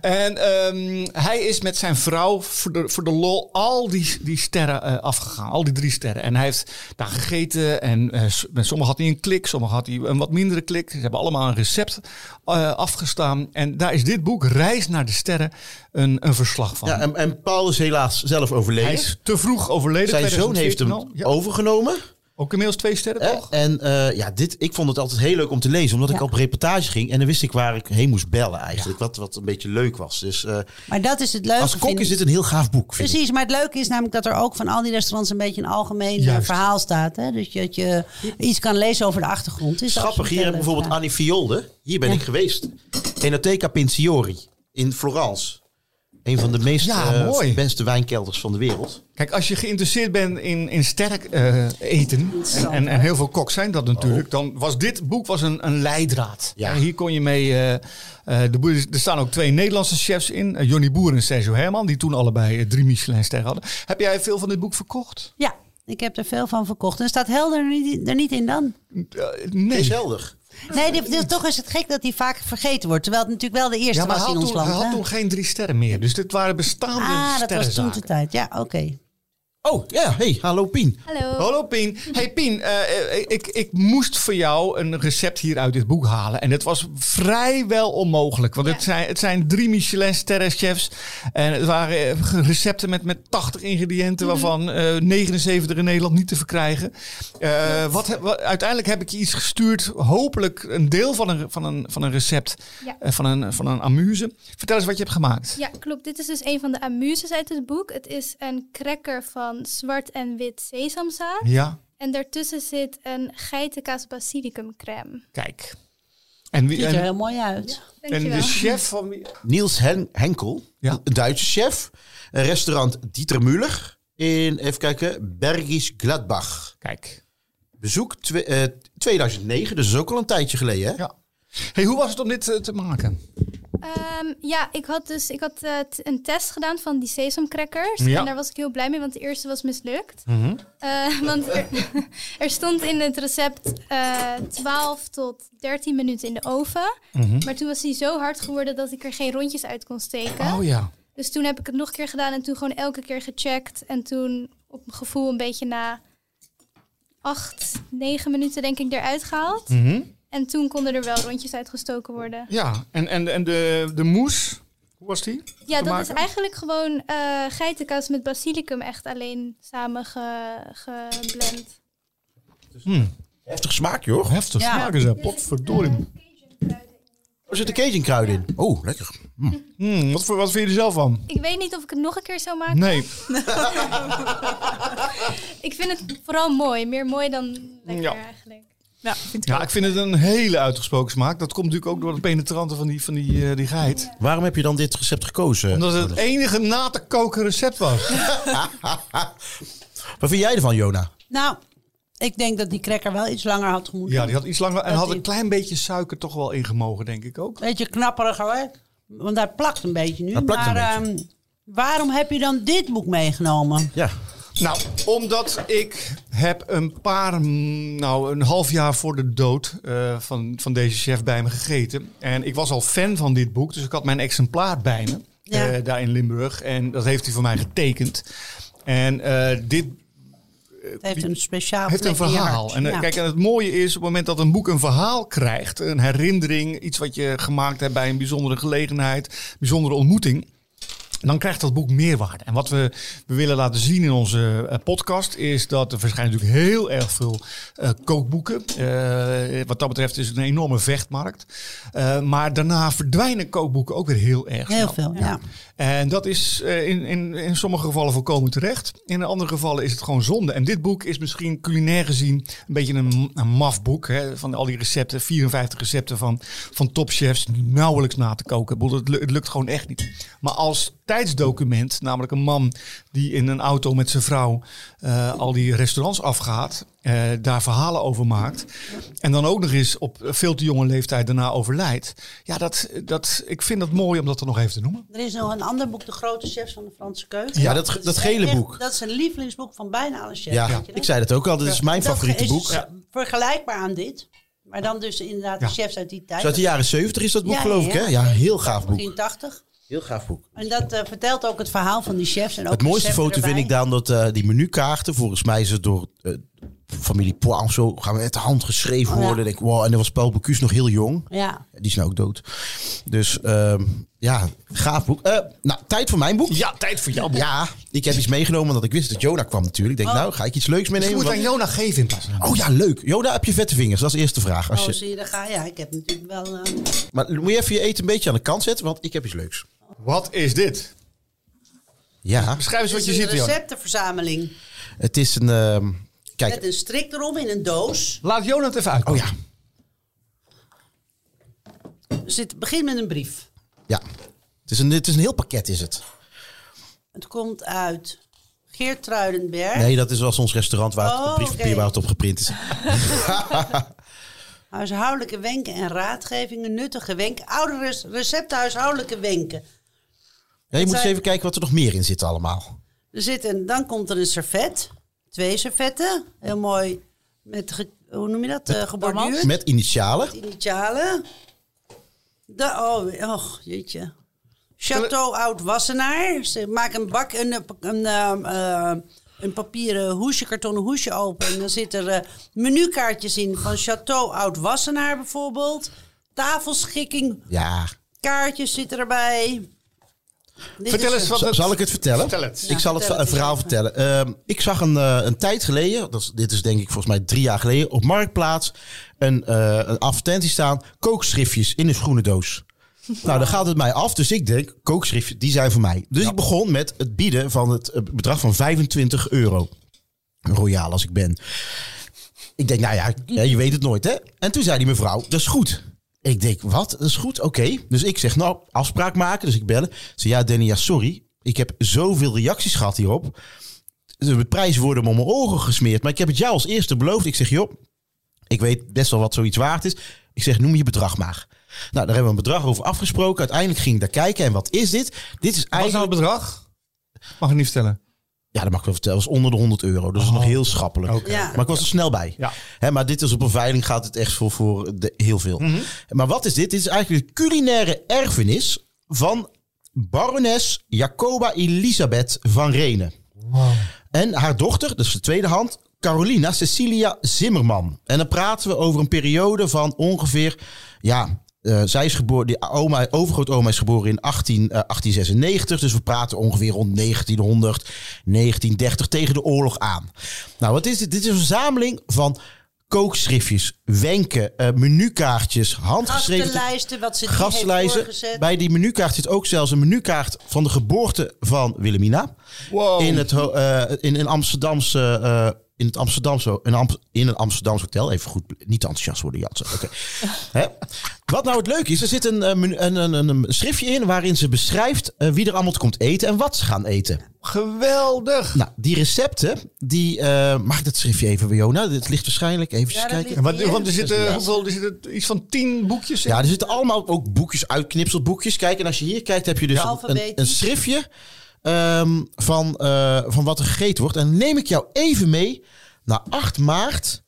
En ehm, hij is met zijn vrouw voor de, voor de lol al die, die sterren eh, afgegaan. Al die drie sterren. En hij heeft daar gegeten. En eh, s- met sommigen had hij een klik, sommigen had hij een wat mindere klik. Ze hebben allemaal een recept eh, afgestaan. En daar is dit boek, Reis naar de Sterren, een, een verslag van. Ja, en, en Paul is helaas zelf overleden. hij is te vroeg overleden. Zijn zoon heeft 2014 hem al. Ja, overgenomen. ook inmiddels twee sterren, Hè? toch? En eh, ja, dit, ik vond het altijd heel leuk om te lezen, omdat ik op reportage ging en dan wist ik waar ik heen moest bellen eigenlijk, wat, wat een beetje leuk was. Dus eh, Maar dat is het leuke. als kok vind is ik. dit een heel gaaf boek, vind ik. Precies, maar het leuke is namelijk dat er ook van al die restaurants een beetje een algemeen eh, Juist. verhaal staat. Hè? Dus je- dat je iets kan lezen over de achtergrond. Is Grappig, absoluut hier heel hebben we leuk, bijvoorbeeld ja. Annie Violde, hier ben ik geweest. Enoteca Pinciori in Florence. Een van de meest Ja, eh, mooi. beste wijnkelders van de wereld. Kijk, als je geïnteresseerd bent in, in sterk eh, eten, en, en, en heel veel koks zijn dat natuurlijk, dan was dit boek was een, een leidraad. Ja. En hier kon je mee, eh, eh, de, boer- er staan ook twee Nederlandse chefs in, eh, Johnny Boer en Sergio Herman, die toen allebei eh, drie Michelinsterren hadden. Heb jij veel van dit boek verkocht? Ja, ik heb er veel van verkocht. En staat helder er niet, er niet in dan. Eh, nee. Is helder. Nee, dit- dit- toch is het gek dat die vaak vergeten wordt. Terwijl het natuurlijk wel de eerste Ja, maar hij was in had, ons toen, hij land. had hè? toen geen drie sterren meer. Dus dit waren bestaande ah, dat was toen de sterrenzaken. tijd. Ja, oké. Oh ja, hey, hallo Pien. Hallo. Hallo Pien. Hey Pien, eh, eh, ik, ik moest voor jou een recept hier uit dit boek halen. En het was vrijwel onmogelijk. Want het, zijn, het zijn drie Michelin sterrenchefs. En het waren eh, recepten met, met 80 ingrediënten, waarvan eh, 79 in Nederland niet te verkrijgen. Eh, wat, he- wat- uiteindelijk heb ik je iets gestuurd. Hopelijk een deel van een, van een, van een recept. Ja. eh, van, een, van een amuse. Vertel eens wat je hebt gemaakt. Ja, klopt. Dit is dus een van de amuses uit het boek. Het is een cracker van zwart en wit sesamzaad. Ja, En daartussen zit een geitenkaas basilicumcrème. kijk. En, wie- Ziet er en, heel mooi uit. en dus Dankjewel. de chef van wie... Niels Hen Henkel, Ja. een Duitse chef. Een restaurant Dieter Müller in, even kijken, Bergisch Gladbach. Kijk. bezoek twe- eh, 2009, dus dat is ook al een tijdje geleden. Hè? Ja. Hey, hoe was het om dit eh, te maken? Ehm, ja, ik had dus ik had, eh, t- een test gedaan van die sesamcrackers. Ja. Mhm. En daar was ik heel blij mee, want de eerste was mislukt. Eh, want er, er stond in het recept eh 12 tot 13 minuten in de oven. Mhm. Maar toen was hij zo hard geworden dat ik er geen rondjes uit kon steken. Oh ja. Dus toen heb ik het nog een keer gedaan en toen gewoon elke keer gecheckt. En toen op mijn Mhm. gevoel een beetje na acht, negen minuten denk ik eruit gehaald. En toen konden er wel rondjes uitgestoken worden. Ja, en, en, en de, de moes, hoe was die? Ja, te dat maken? is eigenlijk gewoon eh, geitenkaas met basilicum echt alleen samen ge- geblend. Heftig smaak, joh. Heftig Ja. smaken ze, potverdorie. Er zitten Cajun kruiden in. Oh, lekker. Hmm, wat, voor- wat vind je er zelf van? Ik weet niet of ik het nog een keer zou maken. Nee, Ik vind het vooral mooi. Meer mooi dan lekker Ja. eigenlijk. Ja, vind ik ja, ook. ik vind het een hele uitgesproken smaak. Dat komt natuurlijk ook door het penetrante van die, van die, eh, die geit. Waarom heb je dan dit recept gekozen? Omdat het het enige na te koken recept was. Wat vind jij ervan, Jona? Nou, ik denk dat die cracker wel iets langer had gemoeten. Ja, die had iets langer en Dat had een die- klein beetje suiker toch wel ingemogen, denk ik ook. Beetje knapperiger hoor. Want hij plakt een beetje nu. Hij plakt een maar ehm, waarom heb je dan dit boek meegenomen? Ja. Nou, omdat ik heb een paar, mm, nou een half jaar voor de dood eh, van, van deze chef bij me gegeten. En ik was al fan van dit boek, dus ik had mijn exemplaar bij me. Ja. eh, daar in Limburg. En dat heeft hij voor mij getekend. En eh, dit Het heeft een speciaal heeft een plek in je verhaal. hart. En eh, Ja. kijk, en het mooie is op het moment dat een boek een verhaal krijgt, een herinnering, iets wat je gemaakt hebt bij een bijzondere gelegenheid, bijzondere ontmoeting. Dan krijgt dat boek meerwaarde. En wat we, we willen laten zien in onze eh, podcast is dat er verschijnen natuurlijk heel erg veel eh, kookboeken. Eh, wat dat betreft is het een enorme vechtmarkt. Eh, maar daarna verdwijnen kookboeken ook weer heel erg. Heel snel. veel, ja. En dat is eh, in, in, in sommige gevallen volkomen terecht. In andere gevallen is het gewoon zonde. En dit boek is misschien culinair gezien een beetje een, een maf boek. Hè, van al die recepten, 54 recepten van, van topchefs, nauwelijks na te koken. Ik bedoel, Het, lu- het lukt gewoon echt niet. Maar als tijdsdocument, namelijk een man die in een auto met zijn vrouw eh, al die restaurants afgaat, eh, daar verhalen over maakt. En dan ook nog eens op veel te jonge leeftijd daarna overlijdt. Ja, dat, dat, ik vind dat mooi om dat er nog even te noemen. Er is nog een ander boek, De Grote Chefs van de Franse Keuken. Ja, dat, dat gele Echt, boek. Dat is een lievelingsboek van bijna alle chefs. Ja, weet je dat? ik zei dat ook al. Dat is mijn Dat favoriete is boek. s- Vergelijkbaar aan dit. Maar dan dus inderdaad Ja. de chefs uit die tijd. Zo uit de jaren 70 is dat boek, Ja, geloof ja, ik, ja. hè? Ja, heel gaaf boek. 1980. Heel gaaf boek. En dat eh, vertelt ook het verhaal van die chefs. En ook Het mooiste recepten foto vind erbij. ik dan dat eh, die menukaarten, volgens mij is het door eh, familie Poir of zo, gaan we met de hand geschreven Oh, ja. worden. Denk, ik, wow, en dan was Paul Bocuse nog heel jong. Ja. Die is nou ook dood. Dus ehm, ja, gaaf boek. Eh, nou, tijd voor mijn boek. Ja, tijd voor jouw boek. Ja, ik heb iets meegenomen, want ik wist dat Jona kwam natuurlijk. Ik denk, Oh. nou, ga ik iets leuks Je meenemen? moet want- aan Jona geven in plaats van- Oh ja, leuk. Jona, heb je vette vingers? Dat is de eerste vraag. Als Oh, je... zie je, daar ga Ja, ik heb natuurlijk wel... eh, Maar moet je even je eten een beetje aan de kant zetten, want ik heb iets leuks. Wat is dit? Ja, Beschrijf eens het wat is je een ziet, Jona. receptenverzameling. het is een... ehm, Met kijk, een strik erom in een doos. Laat Jona het even uit. oh ja, Dus het begint met een brief. ja. Het is een, het is een heel pakket is het. Het komt uit Geert Truidenberg. Nee, dat is zoals ons restaurant waar het Oh, op briefpapier oké. waar het op geprint is. Huishoudelijke wenken en raadgevingen. Nuttige wenken. Oude res- recepten huishoudelijke wenken. Ja, je moet eens zijn- even kijken wat er nog meer in zit allemaal. Er zit een, dan komt er een servet. Twee servetten. Heel mooi. Met, ge- hoe noem je dat? eh geborduurd. Met initialen. Initialen. De, oh, och, jeetje. Chateau Oud-Wassenaar. Ze maken een bak, een, een, een, ehm, eh, een papieren hoesje, kartonnen hoesje open. En dan zitten er eh, menukaartjes in van Chateau Oud-Wassenaar bijvoorbeeld. Tafelschikking, Ja, kaartjes zitten erbij. Dit Vertel is eens een- wat Z- het... zal ik het vertellen? Vertel het. Ik zal het vertel een het verhaal eens vertellen. Ehm, ik zag een, eh, een tijd geleden, dat is, dit is denk ik volgens mij drie jaar geleden, op Marktplaats een, eh een advertentie staan. Kookschriftjes in een groene doos. Nou, dan gaat het mij af. Dus ik denk, kookschriftjes, die zijn voor mij. Dus ik begon met het bieden van het eh, bedrag van 25 euro. Royaal als ik ben. Ik denk, nou ja, ja, je weet het nooit, hè? En toen zei die mevrouw, dat is goed. Ik denk, wat? Dat is goed, oké. Dus ik zeg, nou, afspraak maken. Dus ik bellen. Ze zei, ja, Danny, ja, sorry. Ik heb zoveel reacties gehad hierop. Dus De prijzen worden me om mijn oren gesmeerd. Maar ik heb het jou als eerste beloofd. Ik zeg, joh, ik weet best wel wat zoiets waard is. Ik zeg, noem je bedrag maar. Nou, daar hebben we een bedrag over afgesproken. Uiteindelijk ging ik daar kijken. En wat is dit? Wat Dit is is eigenlijk... nou het bedrag? Mag ik niet vertellen. Ja, dat mag ik wel vertellen. Dat was onder de 100 euro. Dus Dat is nog heel schappelijk. Oh. Oké. Ja. Maar ik was er snel bij. Ja. Hè, maar dit is op een veiling gaat het echt voor, voor de, heel veel. Mhm. Maar wat is dit? Dit is eigenlijk de culinaire erfenis van barones Jacoba Elisabeth van Renen. En haar dochter, dus de tweede hand, Carolina Cecilia Zimmerman. En dan praten we over een periode van ongeveer, ja, eh, zij is geboren, die oma, overgrootoma is geboren in 18, eh, 1896. Dus we praten ongeveer rond 1900, 1930 tegen de oorlog aan. Nou, wat is dit? Dit is een verzameling van kookschriftjes, wenken, eh, menukaartjes, handgeschreven Gastenlijsten, wat ze die heeft gastlijsten. voorgezet. Bij die menukaart zit ook zelfs een menukaart van de geboorte van Wilhelmina. Oh. Wow. In, het, ho- eh, in, in Amsterdamse. eh, in het Amsterdamse, in, Am- in een Amsterdamse hotel. Even goed, niet enthousiast worden, Jansen. Oké. Hè? Wat nou het leuke is, er zit een, eh, menu- een, een, een, een schriftje in waarin ze beschrijft eh, wie er allemaal komt eten en wat ze gaan eten. Geweldig. Nou, die recepten, die... eh, mag ik dat schriftje even, Jona? Dit ligt waarschijnlijk. Even dat kijken. ligt- En wat, want er Ja. zitten, hoeveel, er zitten iets van tien boekjes in. Ja, er zitten allemaal ook boekjes, uitknipselboekjes. Kijk, en als je hier kijkt, heb je dus Ja. een- een, een Alfabetisch. schriftje ehm, van, eh, van wat er gegeten wordt. En neem ik jou even mee naar 8 maart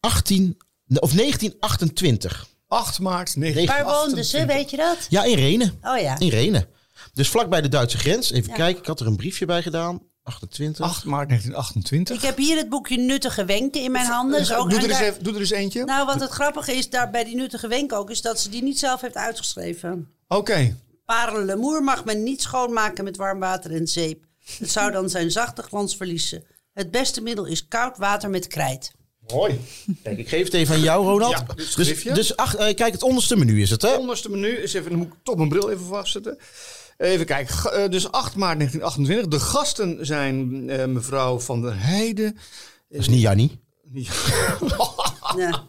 18, of 1928. 8 maart Waar 1928. woonden ze, weet je dat? Ja, in Renen. Oh ja. In Renen. Dus vlakbij de Duitse grens. Even Ja. kijken, ik had er een briefje bij gedaan. 28. 8 maart 1928. Ik heb hier het boekje Nuttige Wenken in mijn handen. Is ook, doe, en er eens daar- even- doe er eens eentje. Nou, wat het grappige is daar bij die Nuttige Wenken ook, is dat ze die niet zelf heeft uitgeschreven. Oké. Parelemoer mag men niet schoonmaken met warm water en zeep. Het zou dan zijn zachte glans verliezen. Het beste middel is koud water met krijt. Mooi. Kijk, ik geef het even aan jou, Ronald. Ja, dit dus schriftje. dus ach, eh, kijk, het onderste menu is het, hè? Onderste menu is even, dan moet ik toch mijn bril even vastzetten. Even kijken. G- eh, Dus 8 maart 1928. De gasten zijn eh, mevrouw van der Heijden. Dat is niet Jannie. Ja.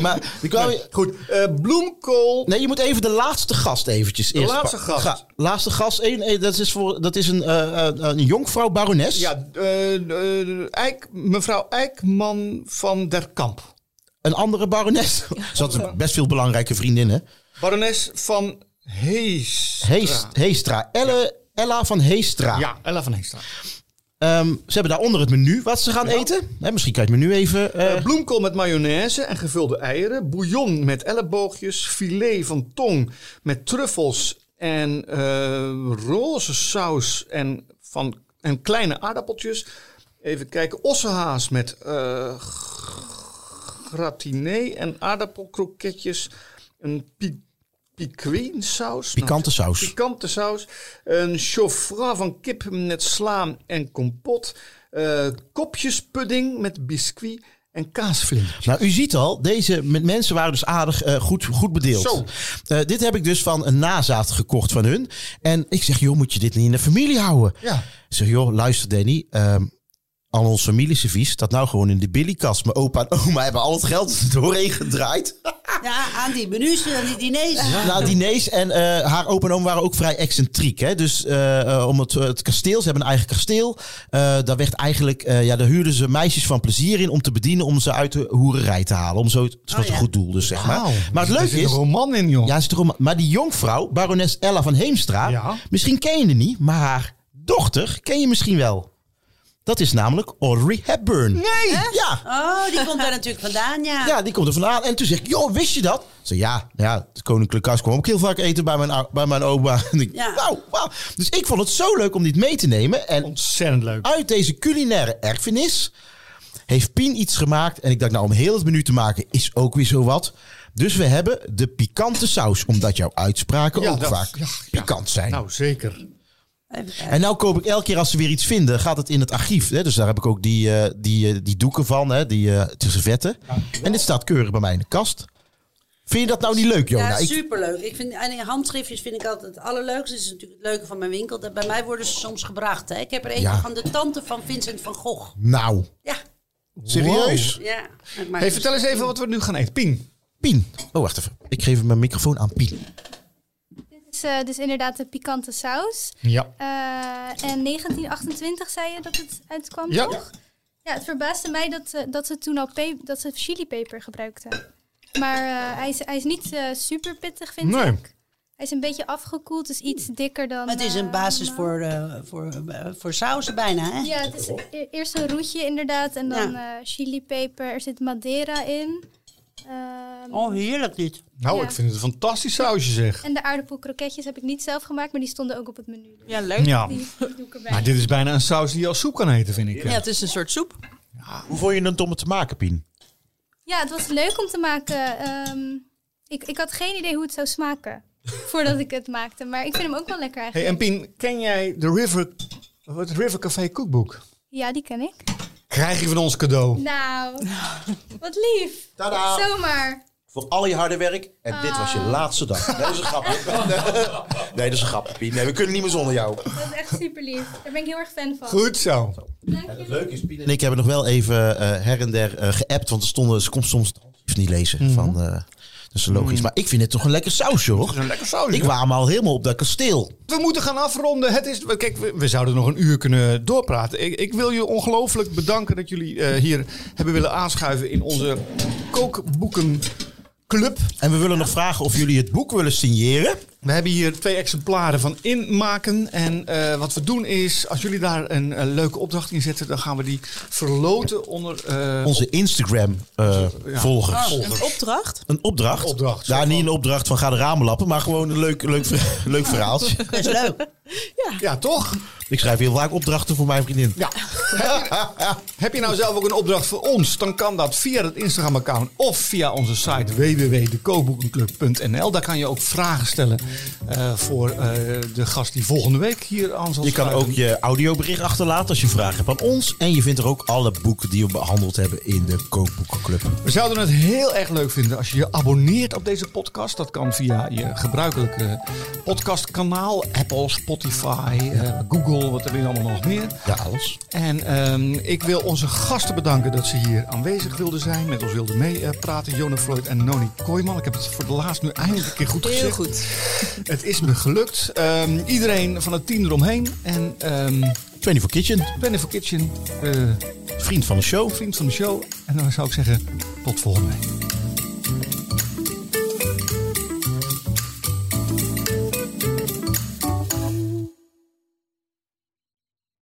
maar... Die kwam, Goed. eh, bloemkool. Nee, je moet even de laatste gast eventjes. eerst laatste pa- gast. laatste gast, één- één, dat is, voor, dat is een, eh, eh, een jonkvrouw barones. Ja, eh, eh, Eik, mevrouw Eikman van der Kamp. Een andere barones. Ze had best veel belangrijke vriendinnen. Barones van Hees. Heest, Heestra. Elle, Ella van Heestra. Ja, Ella van Heestra. Ehm, ze hebben daaronder het menu wat ze gaan eten. Hè, misschien kan je het menu even... eh, Eh, bloemkool met mayonaise en gevulde eieren. Bouillon met elleboogjes. Filet van tong met truffels en eh roze saus en, van, en kleine aardappeltjes. Even kijken. Ossehaas met eh gratiné en aardappelkroketjes. Een pi piqueen saus. Nou, pikante saus. Pikante saus. Een chaufra van kip met sla en kompot. eh, kopjespudding met biscuit en kaasvlinders. Nou, u ziet al, deze met mensen waren dus aardig eh, goed, goed bedeeld. Zo. Eh, dit heb ik dus van een nazaat gekocht van hun. En ik zeg, joh, moet je dit niet in de familie houden? Ja. Ik zeg, joh, luister Danny, ehm al ons familieservies staat nou gewoon in de billykast. Mijn opa en oma hebben al het geld er doorheen gedraaid. ja, aan die menus, aan die diners. Na diners en eh, haar opa en oma waren ook vrij excentriek. Hè? Dus eh, eh, om het, het kasteel, ze hebben een eigen kasteel. Eh, daar werd eigenlijk, eh, ja, daar huurden ze meisjes van plezier in om te bedienen om ze uit de hoererij te halen. Om zo, het was Oh, ja. een goed doel dus, zeg maar. Wauw, maar het daar leuke zit is, een roman in, joh. ja, is het erom- maar die jonkvrouw, barones Ella van Heemstra, Ja. misschien ken je haar niet, maar haar dochter ken je misschien wel. Dat is namelijk Audrey Hepburn. Nee! Ah. Ja, Oh, die komt daar natuurlijk vandaan, ja. ja, die komt er vandaan. En toen zeg ik, joh, wist je dat? Ze ja, nou ja, het koninklijk huis kwam ook heel vaak eten bij mijn, ou- bij mijn oma. En ik, Ja. wauw, wauw. Dus ik vond het zo leuk om dit mee te nemen. En Ontzettend leuk. uit deze culinaire erfenis heeft Pien iets gemaakt. En ik dacht, nou, om heel het menu te maken is ook weer zo wat. Dus we hebben de pikante saus, omdat jouw uitspraken Ja, ook dat- vaak ja, ja. pikant zijn. Nou, zeker. Even kijken. En nou koop ik elke keer als ze weer iets vinden, gaat het in het archief. Hè? Dus daar heb ik ook die, eh, die, eh, die doeken van, hè? die eh die servetten. en dit staat keurig bij mij in de kast. Vind je dat nou niet leuk, Jona? ja, Ik- superleuk. Ik vind, en die handschriftjes vind ik altijd het allerleukste. Dat is natuurlijk het leuke van mijn winkel. Dat- Bij mij worden ze soms gebracht. Hè. Ik heb er eentje Ja. van de tante van Vincent van Gogh. nou, Ja, serieus? ja. Ik maak Hey, dus- vertel eens even wat we nu gaan eten. Pien. Pien. Oh, wacht even. Ik geef mijn microfoon aan Pien. Het is eh, dus inderdaad de pikante saus. Ja. Eh, en 1928 zei je dat het uitkwam, Ja. toch? Ja, het verbaasde mij dat, eh, dat ze toen al pe- dat ze chilipeper gebruikten. Maar eh, hij, is, hij is niet eh, super pittig, vind Nee. ik. Hij is een beetje afgekoeld, dus iets dikker dan... Het is een eh, basis normaal. voor, eh, voor, eh, voor sausen bijna, hè? Ja, het is e- eerst een roetje inderdaad en dan eh chilipeper. Er zit madeira in. Ehm, Oh, heerlijk dit. Nou, Ja. ik vind het een fantastisch sausje, zeg. En de aardappelkroketjes heb ik niet zelf gemaakt, maar die stonden ook op het menu. Ja, leuk. Ja. Die doe ik erbij. Maar dit is bijna een saus die je als soep kan eten, vind ik. Ja, het is een soort soep. Hoe vond je het om het te maken, Pien? Ja, het was leuk om te maken. Ehm, ik, ik had geen idee hoe het zou smaken voordat ik het maakte. Maar ik vind hem ook wel lekker Hey, eigenlijk. en Pien, ken jij de River, het River Café Cookbook? Ja, die ken ik. Krijg je van ons cadeau. Nou, wat lief. Tadaa. Zomaar. Voor al je harde werk. En dit was je laatste dag. Nee, dat is een grap. hoor. nee, dat is een grap, Pien. Nee, we kunnen niet meer zonder jou. Dat is echt super lief. Daar ben ik heel erg fan van. Goed zo. Dank En je het wel. leuke is, Pien en ik hebben nog wel even eh, her en der eh, geappt. Want er stonden, ze kon soms het handschrift niet lezen. Mhm. van, eh, dat is logisch. Maar ik vind het toch een lekker sausje, hoor. een lekker sausje. Ik wou me al helemaal op dat kasteel. We moeten gaan afronden. Het is, kijk, we, we zouden nog een uur kunnen doorpraten. Ik, ik wil je ongelooflijk bedanken dat jullie eh, hier hebben willen aanschuiven in onze kookboekenclub. En we willen nog vragen of jullie het boek willen signeren. We hebben hier twee exemplaren van inmaken. En eh, wat we doen is, als jullie daar een eh, leuke opdracht in zetten, dan gaan we die verloten onder eh, Onze ja. Instagram-volgers. Een opdracht. Een opdracht. Een opdracht, Daar zo niet van. een opdracht van ga de ramen lappen, maar gewoon een leuk, leuk, ver- leuk verhaaltje. Best leuk. Ja, toch? Ik schrijf heel vaak opdrachten voor mijn vriendin. Ja. Heb je nou zelf ook een opdracht voor ons? Dan kan dat via het Instagram-account of via onze site www.dekookboekenclub.nl. Daar kan je ook vragen stellen eh, voor eh, de gast die volgende week hier aan zal Je kan schuiven. ook je audiobericht achterlaten als je vragen hebt aan ons. En je vindt er ook alle boeken die we behandeld hebben in de Kookboekenclub. We zouden het heel erg leuk vinden als je je abonneert op deze podcast. Dat kan via je gebruikelijke podcastkanaal. Apple, Spotify, eh, Google, wat er weer allemaal nog meer. Ja, alles. En ehm, ik wil onze gasten bedanken dat ze hier aanwezig wilden zijn. Met ons wilden eh, meepraten. Jona Freud en Noni Kooijman. Ik heb het voor de laatst nu eindelijk een keer goed gezegd. Heel goed. Het is me gelukt. Ehm, iedereen van het team eromheen. En ehm 24 Kitchen, Penny for Kitchen, eh, vriend van de show. vriend van de show. En dan zou ik zeggen, tot volgende week.